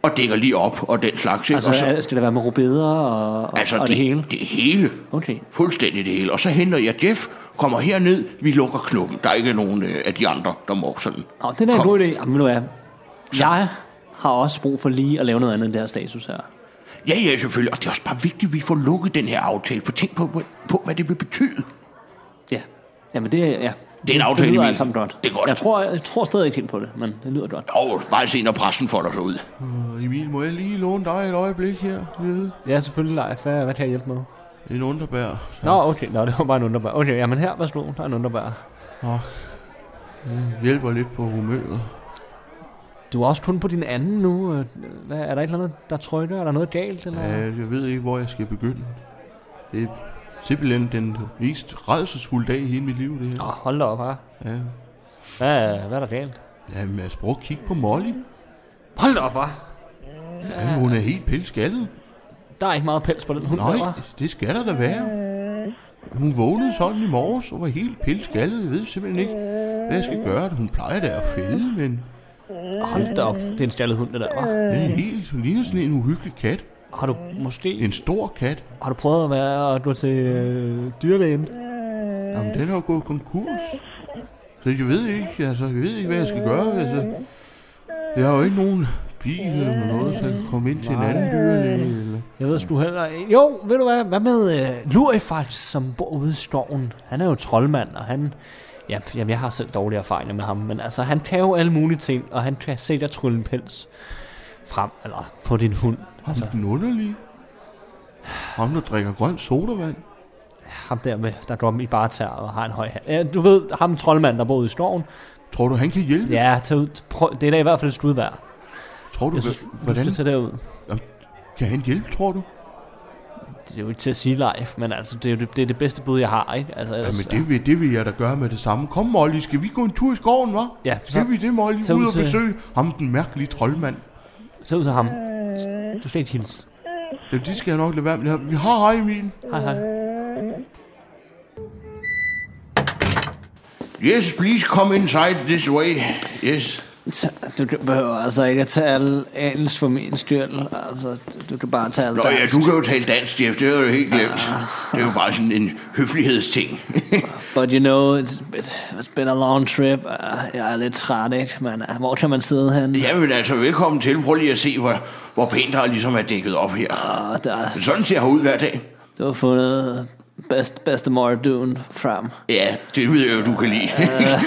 Speaker 5: og dækker lige op og den slags. ikke?
Speaker 9: Altså,
Speaker 5: og så,
Speaker 9: så... skal der være med rubeder og, og,
Speaker 5: altså
Speaker 9: og det, hele?
Speaker 5: Det hele.
Speaker 9: Okay.
Speaker 5: Fuldstændig det hele. Og så henter jeg Jeff, kommer herned, vi lukker knuppen. Der er ikke nogen øh, af de andre, der må sådan.
Speaker 9: Nå, det er da en
Speaker 5: Kom.
Speaker 9: god idé. Jamen, ved du hvad? Jeg har også brug for lige at lave noget andet end det her status her.
Speaker 5: Ja, ja, selvfølgelig. Og det er også bare vigtigt, at vi får lukket den her aftale. For tænk på, på, på hvad det vil betyde.
Speaker 9: Ja. Jamen, det er... Ja.
Speaker 5: Det er en aftale,
Speaker 9: Det lyder
Speaker 5: Emil.
Speaker 9: alt sammen godt.
Speaker 5: Det er godt.
Speaker 9: Jeg tror, jeg tror stadig ikke helt på det, men det lyder godt.
Speaker 5: Og bare se, når pressen folder sig ud.
Speaker 10: Emil, må jeg lige låne dig et øjeblik her? nede?
Speaker 6: Ja, selvfølgelig, Leif. Hvad, hvad kan jeg hjælpe med?
Speaker 10: En underbær.
Speaker 6: Nå, okay. Nå, det var bare en underbær. Okay, jamen her, værsgo. Der er en underbær.
Speaker 10: Hjælper lidt på humøret.
Speaker 6: Du er også kun på din anden nu. Øh, Hvad, er der et eller andet, der trykker? Er der noget galt? Eller?
Speaker 10: Ja, jeg ved ikke, hvor jeg skal begynde. Det er simpelthen den mest redselsfulde dag i hele mit liv, det
Speaker 6: Nå,
Speaker 10: her.
Speaker 6: hold da op, her.
Speaker 10: Ja.
Speaker 6: Hvad, hvad er der galt?
Speaker 10: Jamen, altså, prøv at kigge på Molly.
Speaker 6: Hold da op, hva'?
Speaker 10: Ja, hun er helt pilskaldet.
Speaker 6: Der er ikke meget pels på den hund, der,
Speaker 10: Nej,
Speaker 6: hva'?
Speaker 10: det skal der da være. Hun vågnede sådan i morges og var helt pilskaldet. Jeg ved simpelthen ikke, hvad jeg skal gøre. Hun plejer da at fælde, men
Speaker 6: Hold da op, det er en skaldet hund, det der, hva'?
Speaker 10: den er helt, hun ligner sådan en uhyggelig kat.
Speaker 6: Har du måske...
Speaker 10: En stor kat.
Speaker 6: Har du prøvet at være at gå til øh, dyrlægen?
Speaker 10: Jamen, den er jo gået konkurs. Så jeg ved ikke, altså, jeg ved ikke, hvad jeg skal gøre. Altså, jeg har jo ikke nogen bil eller noget, så jeg kan komme ind til en anden dyrlæge. Eller...
Speaker 6: Jeg ved sgu heller ikke. Jo, ved du hvad? Hvad med øh, Lurifax, som bor ude i skoven? Han er jo troldmand, og han... Ja, jamen, jeg har selv dårlige erfaringer med ham, men altså, han kan jo alle mulige ting, og han kan se dig trylle en pels frem, eller på din hund. Altså.
Speaker 10: Ham den underlige. Ham, der drikker grøn sodavand.
Speaker 6: Ham der, med, der går i bare tær og har en høj hat. Ja, du ved, ham troldmand, der bor ude i skoven.
Speaker 10: Tror du, han kan hjælpe?
Speaker 6: Ja, tag ud. Prøv, det er da i hvert fald et skud værd.
Speaker 10: Tror du,
Speaker 6: Jeg synes,
Speaker 10: hva-
Speaker 6: du
Speaker 10: hvordan
Speaker 6: skal tage derud.
Speaker 10: kan han hjælpe, tror du?
Speaker 6: det er jo ikke til at sige live, men altså, det er jo det, det, er det bedste bud, jeg har, ikke? Altså, ellers,
Speaker 10: Jamen, det vil, det vil jeg da gøre med det samme. Kom, Molly, skal vi gå en tur i skoven, hva'?
Speaker 6: Ja, så-
Speaker 10: Skal vi det, Molly?
Speaker 6: tag ud
Speaker 10: Ud og
Speaker 6: til-
Speaker 10: besøge ham, den mærkelige troldmand.
Speaker 6: Så ud til ham. Du skal ikke hilse.
Speaker 10: Ja, det skal jeg nok lade være med. Vi har hej, Emil.
Speaker 6: Hej, hej.
Speaker 5: Yes, please come inside this way. Yes.
Speaker 6: Du, du behøver altså ikke at tale engelsk for min styrtel. Altså, du kan bare tale
Speaker 5: Nå ja, du kan jo tale dansk, Jeff. Det har du helt glemt. Det er jo bare sådan en høflighedsting.
Speaker 6: But you know, it's, it's been a long trip. Uh, jeg er lidt træt, ikke? Men uh, hvor kan man sidde hen?
Speaker 5: Jamen altså, velkommen til. Prøv lige at se, hvor, hvor pænt der ligesom er dækket op her.
Speaker 6: Og der,
Speaker 5: Sådan ser jeg ud hver dag.
Speaker 6: du har fundet bedst, bedste Mordun frem.
Speaker 5: Ja, det ved jeg jo, du kan lide. ja,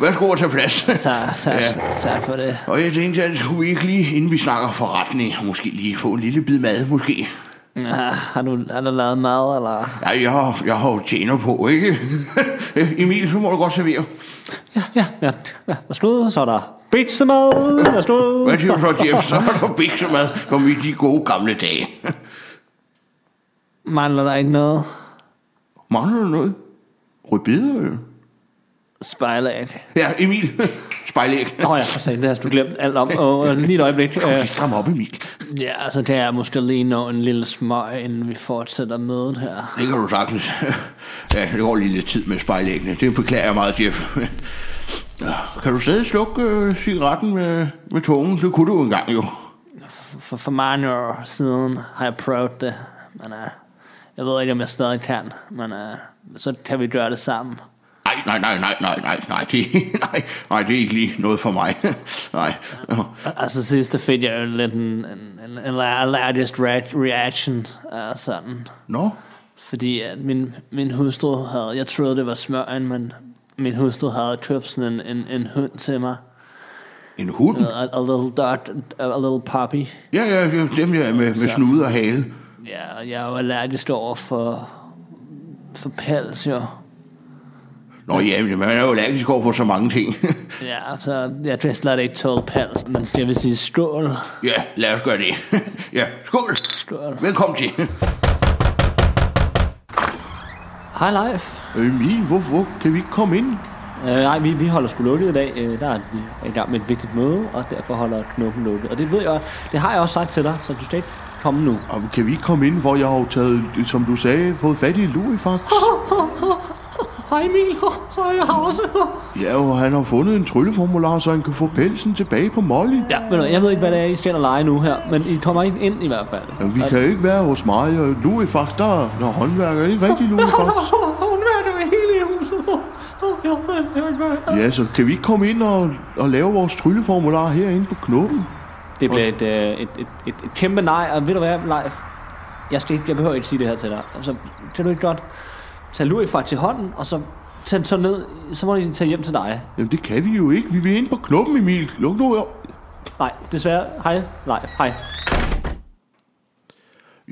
Speaker 5: værsgo at tage plads.
Speaker 6: Øh. Tak, tak,
Speaker 5: Ja.
Speaker 6: ja. tak for det.
Speaker 5: Og jeg tænkte, at skulle vi ikke lige, inden vi snakker forretning, måske lige få en lille bid mad, måske.
Speaker 6: Ja, har, du, har du lavet mad, eller?
Speaker 5: Ja, jeg har, jeg har jo tjener på, ikke? Emil, så må du godt servere.
Speaker 6: Ja, ja, ja. ja. Værsgo, så er der bitsemad. Værsgo.
Speaker 5: Hvad siger du så, Jeff? Så er der biksemad, mad, som i de gode gamle dage.
Speaker 6: Mangler der ikke noget?
Speaker 5: Mangler du noget? Rødbeder, jo.
Speaker 6: Spejlæg.
Speaker 5: Ja, Emil, spejlæg.
Speaker 6: Nå ja, for satan, det har du glemt alt om. Og lige et øjeblik.
Speaker 5: Kom,
Speaker 6: Øh,
Speaker 5: stram op, Emil.
Speaker 6: Ja, så kan jeg måske lige nå en lille smøg, inden vi fortsætter mødet her.
Speaker 5: Det kan du sagtens. Ja, det går lige lidt tid med spejlæggene. Det beklager jeg meget, Jeff. Kan du stadig slukke øh, cigaretten med, med tungen? Det kunne du jo engang jo.
Speaker 6: For, for mange år siden har jeg prøvet det, men uh, jeg ved ikke, om jeg stadig kan, men uh, så kan vi gøre det sammen.
Speaker 5: Nej, nej, nej, nej, nej, nej, nej, det, nej, nej, det er ikke lige noget for mig. Nej.
Speaker 6: Altså sidste fik jeg jo lidt en, en, en, en allergisk re- reaction, uh, sådan.
Speaker 5: Nå,
Speaker 6: Fordi at min, min hustru havde, jeg troede det var smøgen, men min hustru havde købt sådan en, en, en hund til mig.
Speaker 5: en hund?
Speaker 6: A, a little dog, a little puppy.
Speaker 5: Ja, ja, ja dem der med, med snude og hale.
Speaker 6: Ja, og jeg er jo allergisk over for, for pels, jo.
Speaker 5: Nå ja, men man er jo allergisk over for så mange ting.
Speaker 6: Ja, så jeg kan slet ikke tåle pels, men skal vi sige skål?
Speaker 5: Ja, lad os gøre det. Ja, skål.
Speaker 6: Skål.
Speaker 5: Velkommen til.
Speaker 6: Hej, Leif.
Speaker 10: Emil, hvor, hvor kan vi ikke komme ind?
Speaker 6: Øh, nej, vi, vi holder sgu lukket i dag. Øh, der er vi i gang med et vigtigt møde, og derfor holder knuppen lukket. Og det ved jeg, det har jeg også sagt til dig, så du skal ikke komme nu.
Speaker 10: Og kan vi ikke komme ind, hvor jeg har jo taget, som du sagde, fået fat i Luifax?
Speaker 6: Hej Emil, så er jeg her også.
Speaker 10: Ja, og han har fundet en trylleformular, så han kan få pelsen tilbage på Molly.
Speaker 6: Ja, ved du, hvad, jeg ved ikke, hvad det er, I skal og lege nu her, men I kommer ikke ind i hvert fald.
Speaker 10: Ja, vi kan jo ikke være hos mig, og Luifax, der, der er håndværker, ikke rigtig Luifax?
Speaker 6: Hun er jo hele i huset.
Speaker 10: Ja, så kan vi ikke komme ind og, og lave vores trylleformular herinde på knoppen?
Speaker 6: Det bliver et, øh, et, et, et, et kæmpe nej, og ved du hvad, Leif? Jeg, skal ikke, jeg behøver ikke sige det her til dig. Altså, kan du ikke godt tage Louis fra til hånden, og så tage den så ned, så må de tage hjem til dig.
Speaker 10: Jamen det kan vi jo ikke, vi vil ind på knoppen, Emil. Luk nu op.
Speaker 6: Nej, desværre. Hej, Leif. Hej.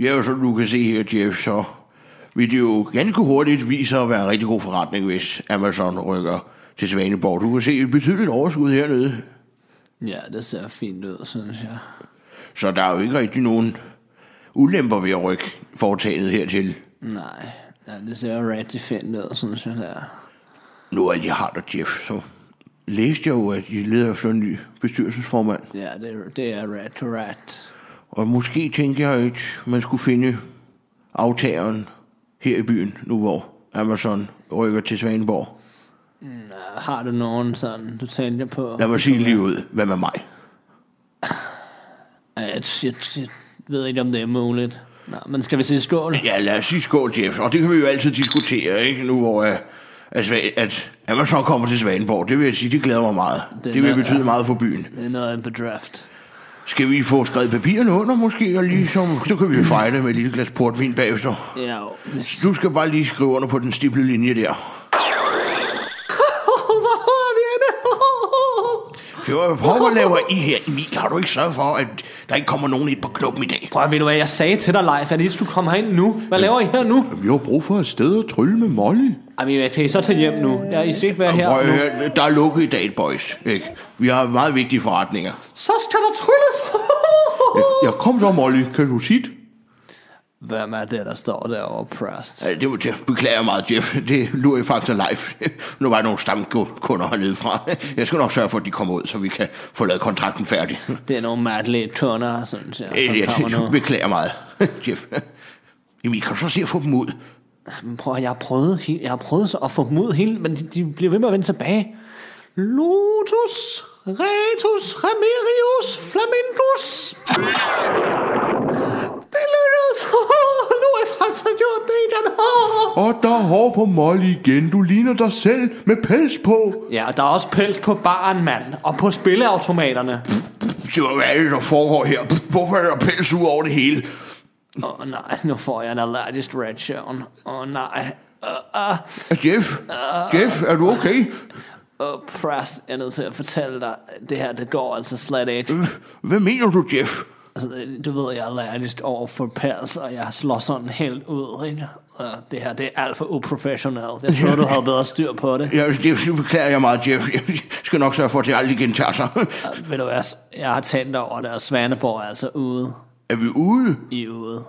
Speaker 5: Ja, som du kan se her, Jeff, så vil det jo ganske hurtigt vise sig at være en rigtig god forretning, hvis Amazon rykker til Svaneborg. Du kan se et betydeligt overskud hernede,
Speaker 6: Ja, det ser fint ud, synes jeg.
Speaker 5: så der er jo ikke rigtig nogen ulemper ved at rykke foretagendet hertil.
Speaker 6: Nej, ja, det ser rigtig fint ud, synes jeg. Der.
Speaker 5: Nu er de har der, Jeff, så læste jeg jo, at I leder efter en ny bestyrelsesformand.
Speaker 6: Ja, det, det er ret correct.
Speaker 5: Og måske tænker jeg, at man skulle finde aftageren her i byen, nu hvor Amazon rykker til Svaneborg.
Speaker 6: Har du nogen sådan, du tænker på?
Speaker 5: Lad mig sige lige ud, hvad med mig?
Speaker 6: Ja, Jeg, jeg, jeg ved ikke, om det er muligt. Nå, men skal vi sige skål?
Speaker 5: Ja, lad os sige skål, Jeff. Og det kan vi jo altid diskutere, ikke? Nu hvor uh, at, Sva- at Amazon kommer til Svaneborg. Det vil jeg sige, det glæder mig meget. Det, det vil
Speaker 6: er-
Speaker 5: betyde meget for byen.
Speaker 6: Det er noget af en bedrift.
Speaker 5: Skal vi få skrevet papirerne under måske? Og ligesom, så kan vi jo fejre det med et lille glas portvin bagefter.
Speaker 6: Ja, jo, hvis...
Speaker 5: Du skal bare lige skrive under på den stiplede linje der.
Speaker 6: Så har vi hende!
Speaker 5: Det var prøv at lave i her, Emil. Har du ikke sørget for, at der ikke kommer nogen ind på knoppen i dag?
Speaker 6: Prøv at ved du hvad, jeg sagde til dig, Leif, at I skulle komme herind nu. Hvad laver I her nu?
Speaker 10: Vi har brug for et sted at trylle med Molly.
Speaker 6: Ej, men kan I så tage hjem nu? Ja, I skal ikke være her
Speaker 5: Prøv at
Speaker 6: nu.
Speaker 5: høre, der er lukket i dag, boys. Ikke? Vi har meget vigtige forretninger.
Speaker 6: Så skal der trylles!
Speaker 10: Ja, kom så, Molly. Kan du sit?
Speaker 6: Hvem er det, der står derovre, Præst?
Speaker 5: Øh, Det må jeg beklager meget, Jeff. Det lurer jeg faktisk live. Nu var der nogle stamkunder hernede fra. Jeg skal nok sørge for, at de kommer ud, så vi kan få lavet kontrakten færdig.
Speaker 6: Det er nogle mærkelige tunder, synes jeg,
Speaker 5: Øh,
Speaker 6: som kommer
Speaker 5: Jeg
Speaker 6: nu.
Speaker 5: beklager meget, Jeff. Jamen, I kan så se at få dem ud.
Speaker 6: Men Prøv, at- jeg har prøvet, he- jeg har prøvet så at få dem ud hele, men de, de bliver ved med at vende tilbage. Lotus, Retus, Ramirius, Flamindus. Det lykkedes. nu er jeg faktisk gjort det igen.
Speaker 10: Og der er hår på Molly igen. Du ligner dig selv med pels på.
Speaker 6: Ja, og der er også pels på baren, mand. Og på spilleautomaterne.
Speaker 5: Så hvad er det, der foregår her? Hvorfor er der pels ud over det hele?
Speaker 6: Åh oh, nej, nu får jeg en allergisk reaktion. Åh oh, nej. Åh, uh,
Speaker 5: Jeff, Jeff, er du okay?
Speaker 6: uh, uh, præst, jeg er nødt til at fortælle dig, at det her, det går altså slet ikke.
Speaker 5: Hvad mener du, Jeff?
Speaker 6: Altså, du ved, jeg er allergisk over for pels, og jeg slår sådan helt ud, ikke? Og det her, det er alt for uprofessionelt. Jeg tror, du havde bedre styr på det.
Speaker 5: Ja, det beklager jeg meget, Jeff. Jeg skal nok sørge for, at det aldrig gentager sig.
Speaker 6: Og Ved du hvad, jeg har tændt over det, og Svaneborg er altså ude
Speaker 5: Er vi ude?
Speaker 6: i ude.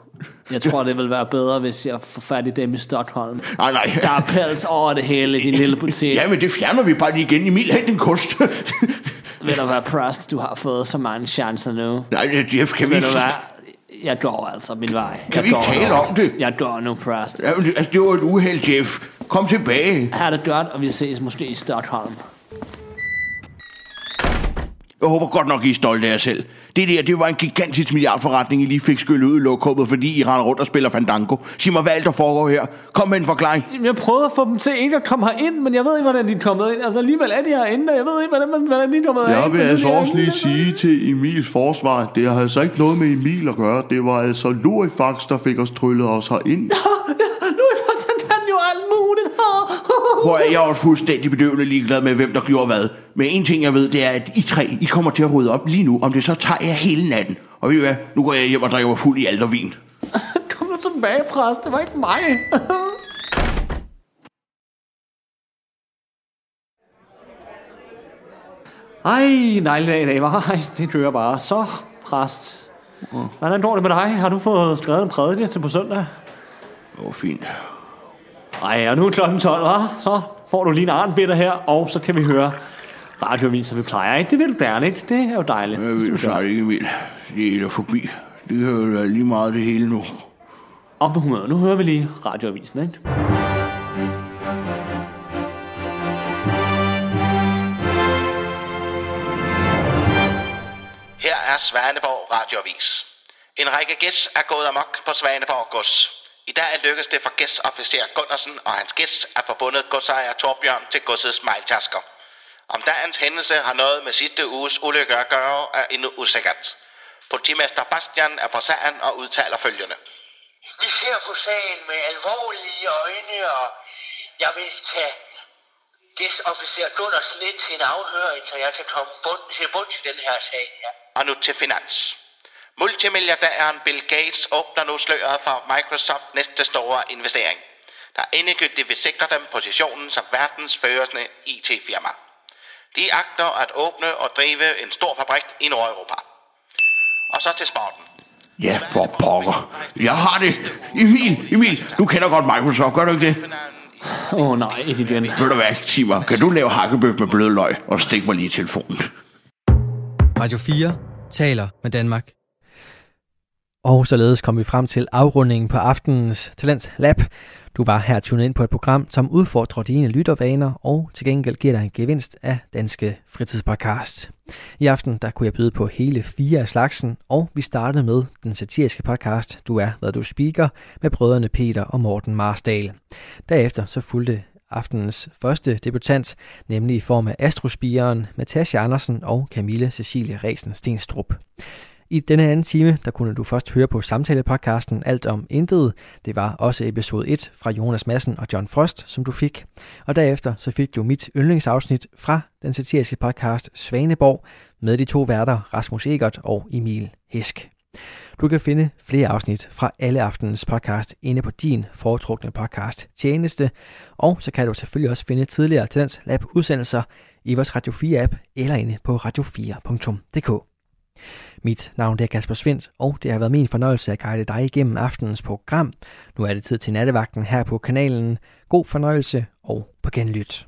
Speaker 6: Jeg tror, det ville være bedre, hvis jeg får fat i dem i Stockholm.
Speaker 5: Nej, nej.
Speaker 6: Der er pels over det hele i din lille butik.
Speaker 5: Ja, men det fjerner vi bare lige igen. Emil, hent en kost.
Speaker 6: Ved du hvad, præst, du har fået så mange chancer nu.
Speaker 5: Nej, Jeff, kan vi
Speaker 6: Ved du
Speaker 5: ikke...
Speaker 6: hvad, jeg går altså min vej. Kan jeg
Speaker 5: vi ikke
Speaker 6: går
Speaker 5: tale
Speaker 6: nu.
Speaker 5: om det?
Speaker 6: Jeg går nu, præst.
Speaker 5: Ja, men det- altså, det var et uheld, Jeff. Kom tilbage.
Speaker 6: Her er det godt, og vi ses måske i Stockholm.
Speaker 5: Jeg håber godt nok, I er stolte af jer selv. Det der, det var en gigantisk milliardforretning, I lige fik skyllet ud i lokummet, fordi I render rundt og spiller Fandango. Sig mig, hvad er det, der foregår her? Kom med en forklaring.
Speaker 6: Jamen, Jeg prøvede at få dem til ikke at komme herind, men jeg ved ikke, hvordan de er kommet ind. Altså alligevel er de herinde, og jeg ved ikke, hvordan, man- hvordan de er kommet herind.
Speaker 10: Jeg vil
Speaker 6: men nu er
Speaker 10: altså
Speaker 6: de
Speaker 10: også lige
Speaker 6: herinde.
Speaker 10: sige til Emils forsvar, det har altså ikke noget med Emil at gøre. Det var altså Lurifax, der fik os tryllet os herind.
Speaker 6: Nu er faktisk, han kan jo alt muligt.
Speaker 5: Hvor er jeg også fuldstændig bedøvende ligeglad med, hvem der gjorde hvad. Men en ting, jeg ved, det er, at I tre, I kommer til at rydde op lige nu. Om det så tager jeg hele natten. Og ved I hvad, nu går jeg hjem og drikker mig fuld i aldervin.
Speaker 6: Kom nu tilbage, præst. Det var ikke mig. Ej, nej, i dag, i dag, var. Ej, det kører bare. Så, præst. Hvordan går det med dig? Har du fået skrevet en prædike til på søndag?
Speaker 5: Åh, oh, fint.
Speaker 6: Ej, og nu er klokken 12, hva? Så får du lige en armbitter her, og så kan vi høre radioavis, som vi plejer, ikke? Det vil du gerne, ikke? Det er jo dejligt.
Speaker 5: Jeg ved snart ikke, Emil. Det er der forbi. Det kan jo være lige meget det hele nu.
Speaker 6: Op med humøret. Nu hører vi lige radioavisen, ikke?
Speaker 8: Her er Svaneborg Radiovis. En række gæs er gået amok på Svaneborg Gods. I dag er lykkedes det for gæstofficer Gunnarsen og hans gæst at forbundet godsejer Torbjørn til godsets mejltasker. Om dagens hændelse har noget med sidste uges ulykke at gøre, er endnu usikkert. Politimester Bastian er på sagen og udtaler følgende.
Speaker 11: Vi ser på sagen med alvorlige øjne, og jeg vil tage gæstofficer Gunners lidt til en afhøring, så jeg kan komme bund, til bund til den her sag her.
Speaker 8: Og nu til finans. Multimilliardæren Bill Gates åbner nu sløret for Microsoft næste store investering, der endegyldigt vil sikre dem positionen som verdens førende IT-firma. De agter at åbne og drive en stor fabrik i Nordeuropa. Og så til sporten.
Speaker 5: Ja, for pokker. Jeg har det. Emil, Emil, du kender godt Microsoft, gør du ikke det?
Speaker 6: Åh oh, nej, ikke igen.
Speaker 5: Ved du hvad, sig mig, kan du lave hakkebøf med bløde løg, og stik mig lige i telefonen?
Speaker 1: Radio 4 taler med Danmark. Og således kom vi frem til afrundingen på aftenens Talents Lab. Du var her tunet ind på et program, som udfordrer dine lyttervaner og til gengæld giver dig en gevinst af Danske Fritidspodcast. I aften der kunne jeg byde på hele fire af slagsen, og vi startede med den satiriske podcast Du er, hvad du speaker, med brødrene Peter og Morten Marsdal. Derefter så fulgte aftenens første debutant, nemlig i form af astrospigeren Natasha Andersen og Camilla Cecilie Resen Stenstrup. I denne anden time, der kunne du først høre på samtalepodcasten Alt om Intet. Det var også episode 1 fra Jonas Madsen og John Frost, som du fik. Og derefter så fik du mit yndlingsafsnit fra den satiriske podcast Svaneborg med de to værter Rasmus Egert og Emil Hisk. Du kan finde flere afsnit fra alle aftenens podcast inde på din foretrukne podcast tjeneste, og så kan du selvfølgelig også finde tidligere Tendens Lab udsendelser i vores Radio 4 app eller inde på radio4.dk. Mit navn det er Kasper Svendt, og det har været min fornøjelse at guide dig igennem aftenens program. Nu er det tid til nattevagten her på kanalen. God fornøjelse og på genlyt.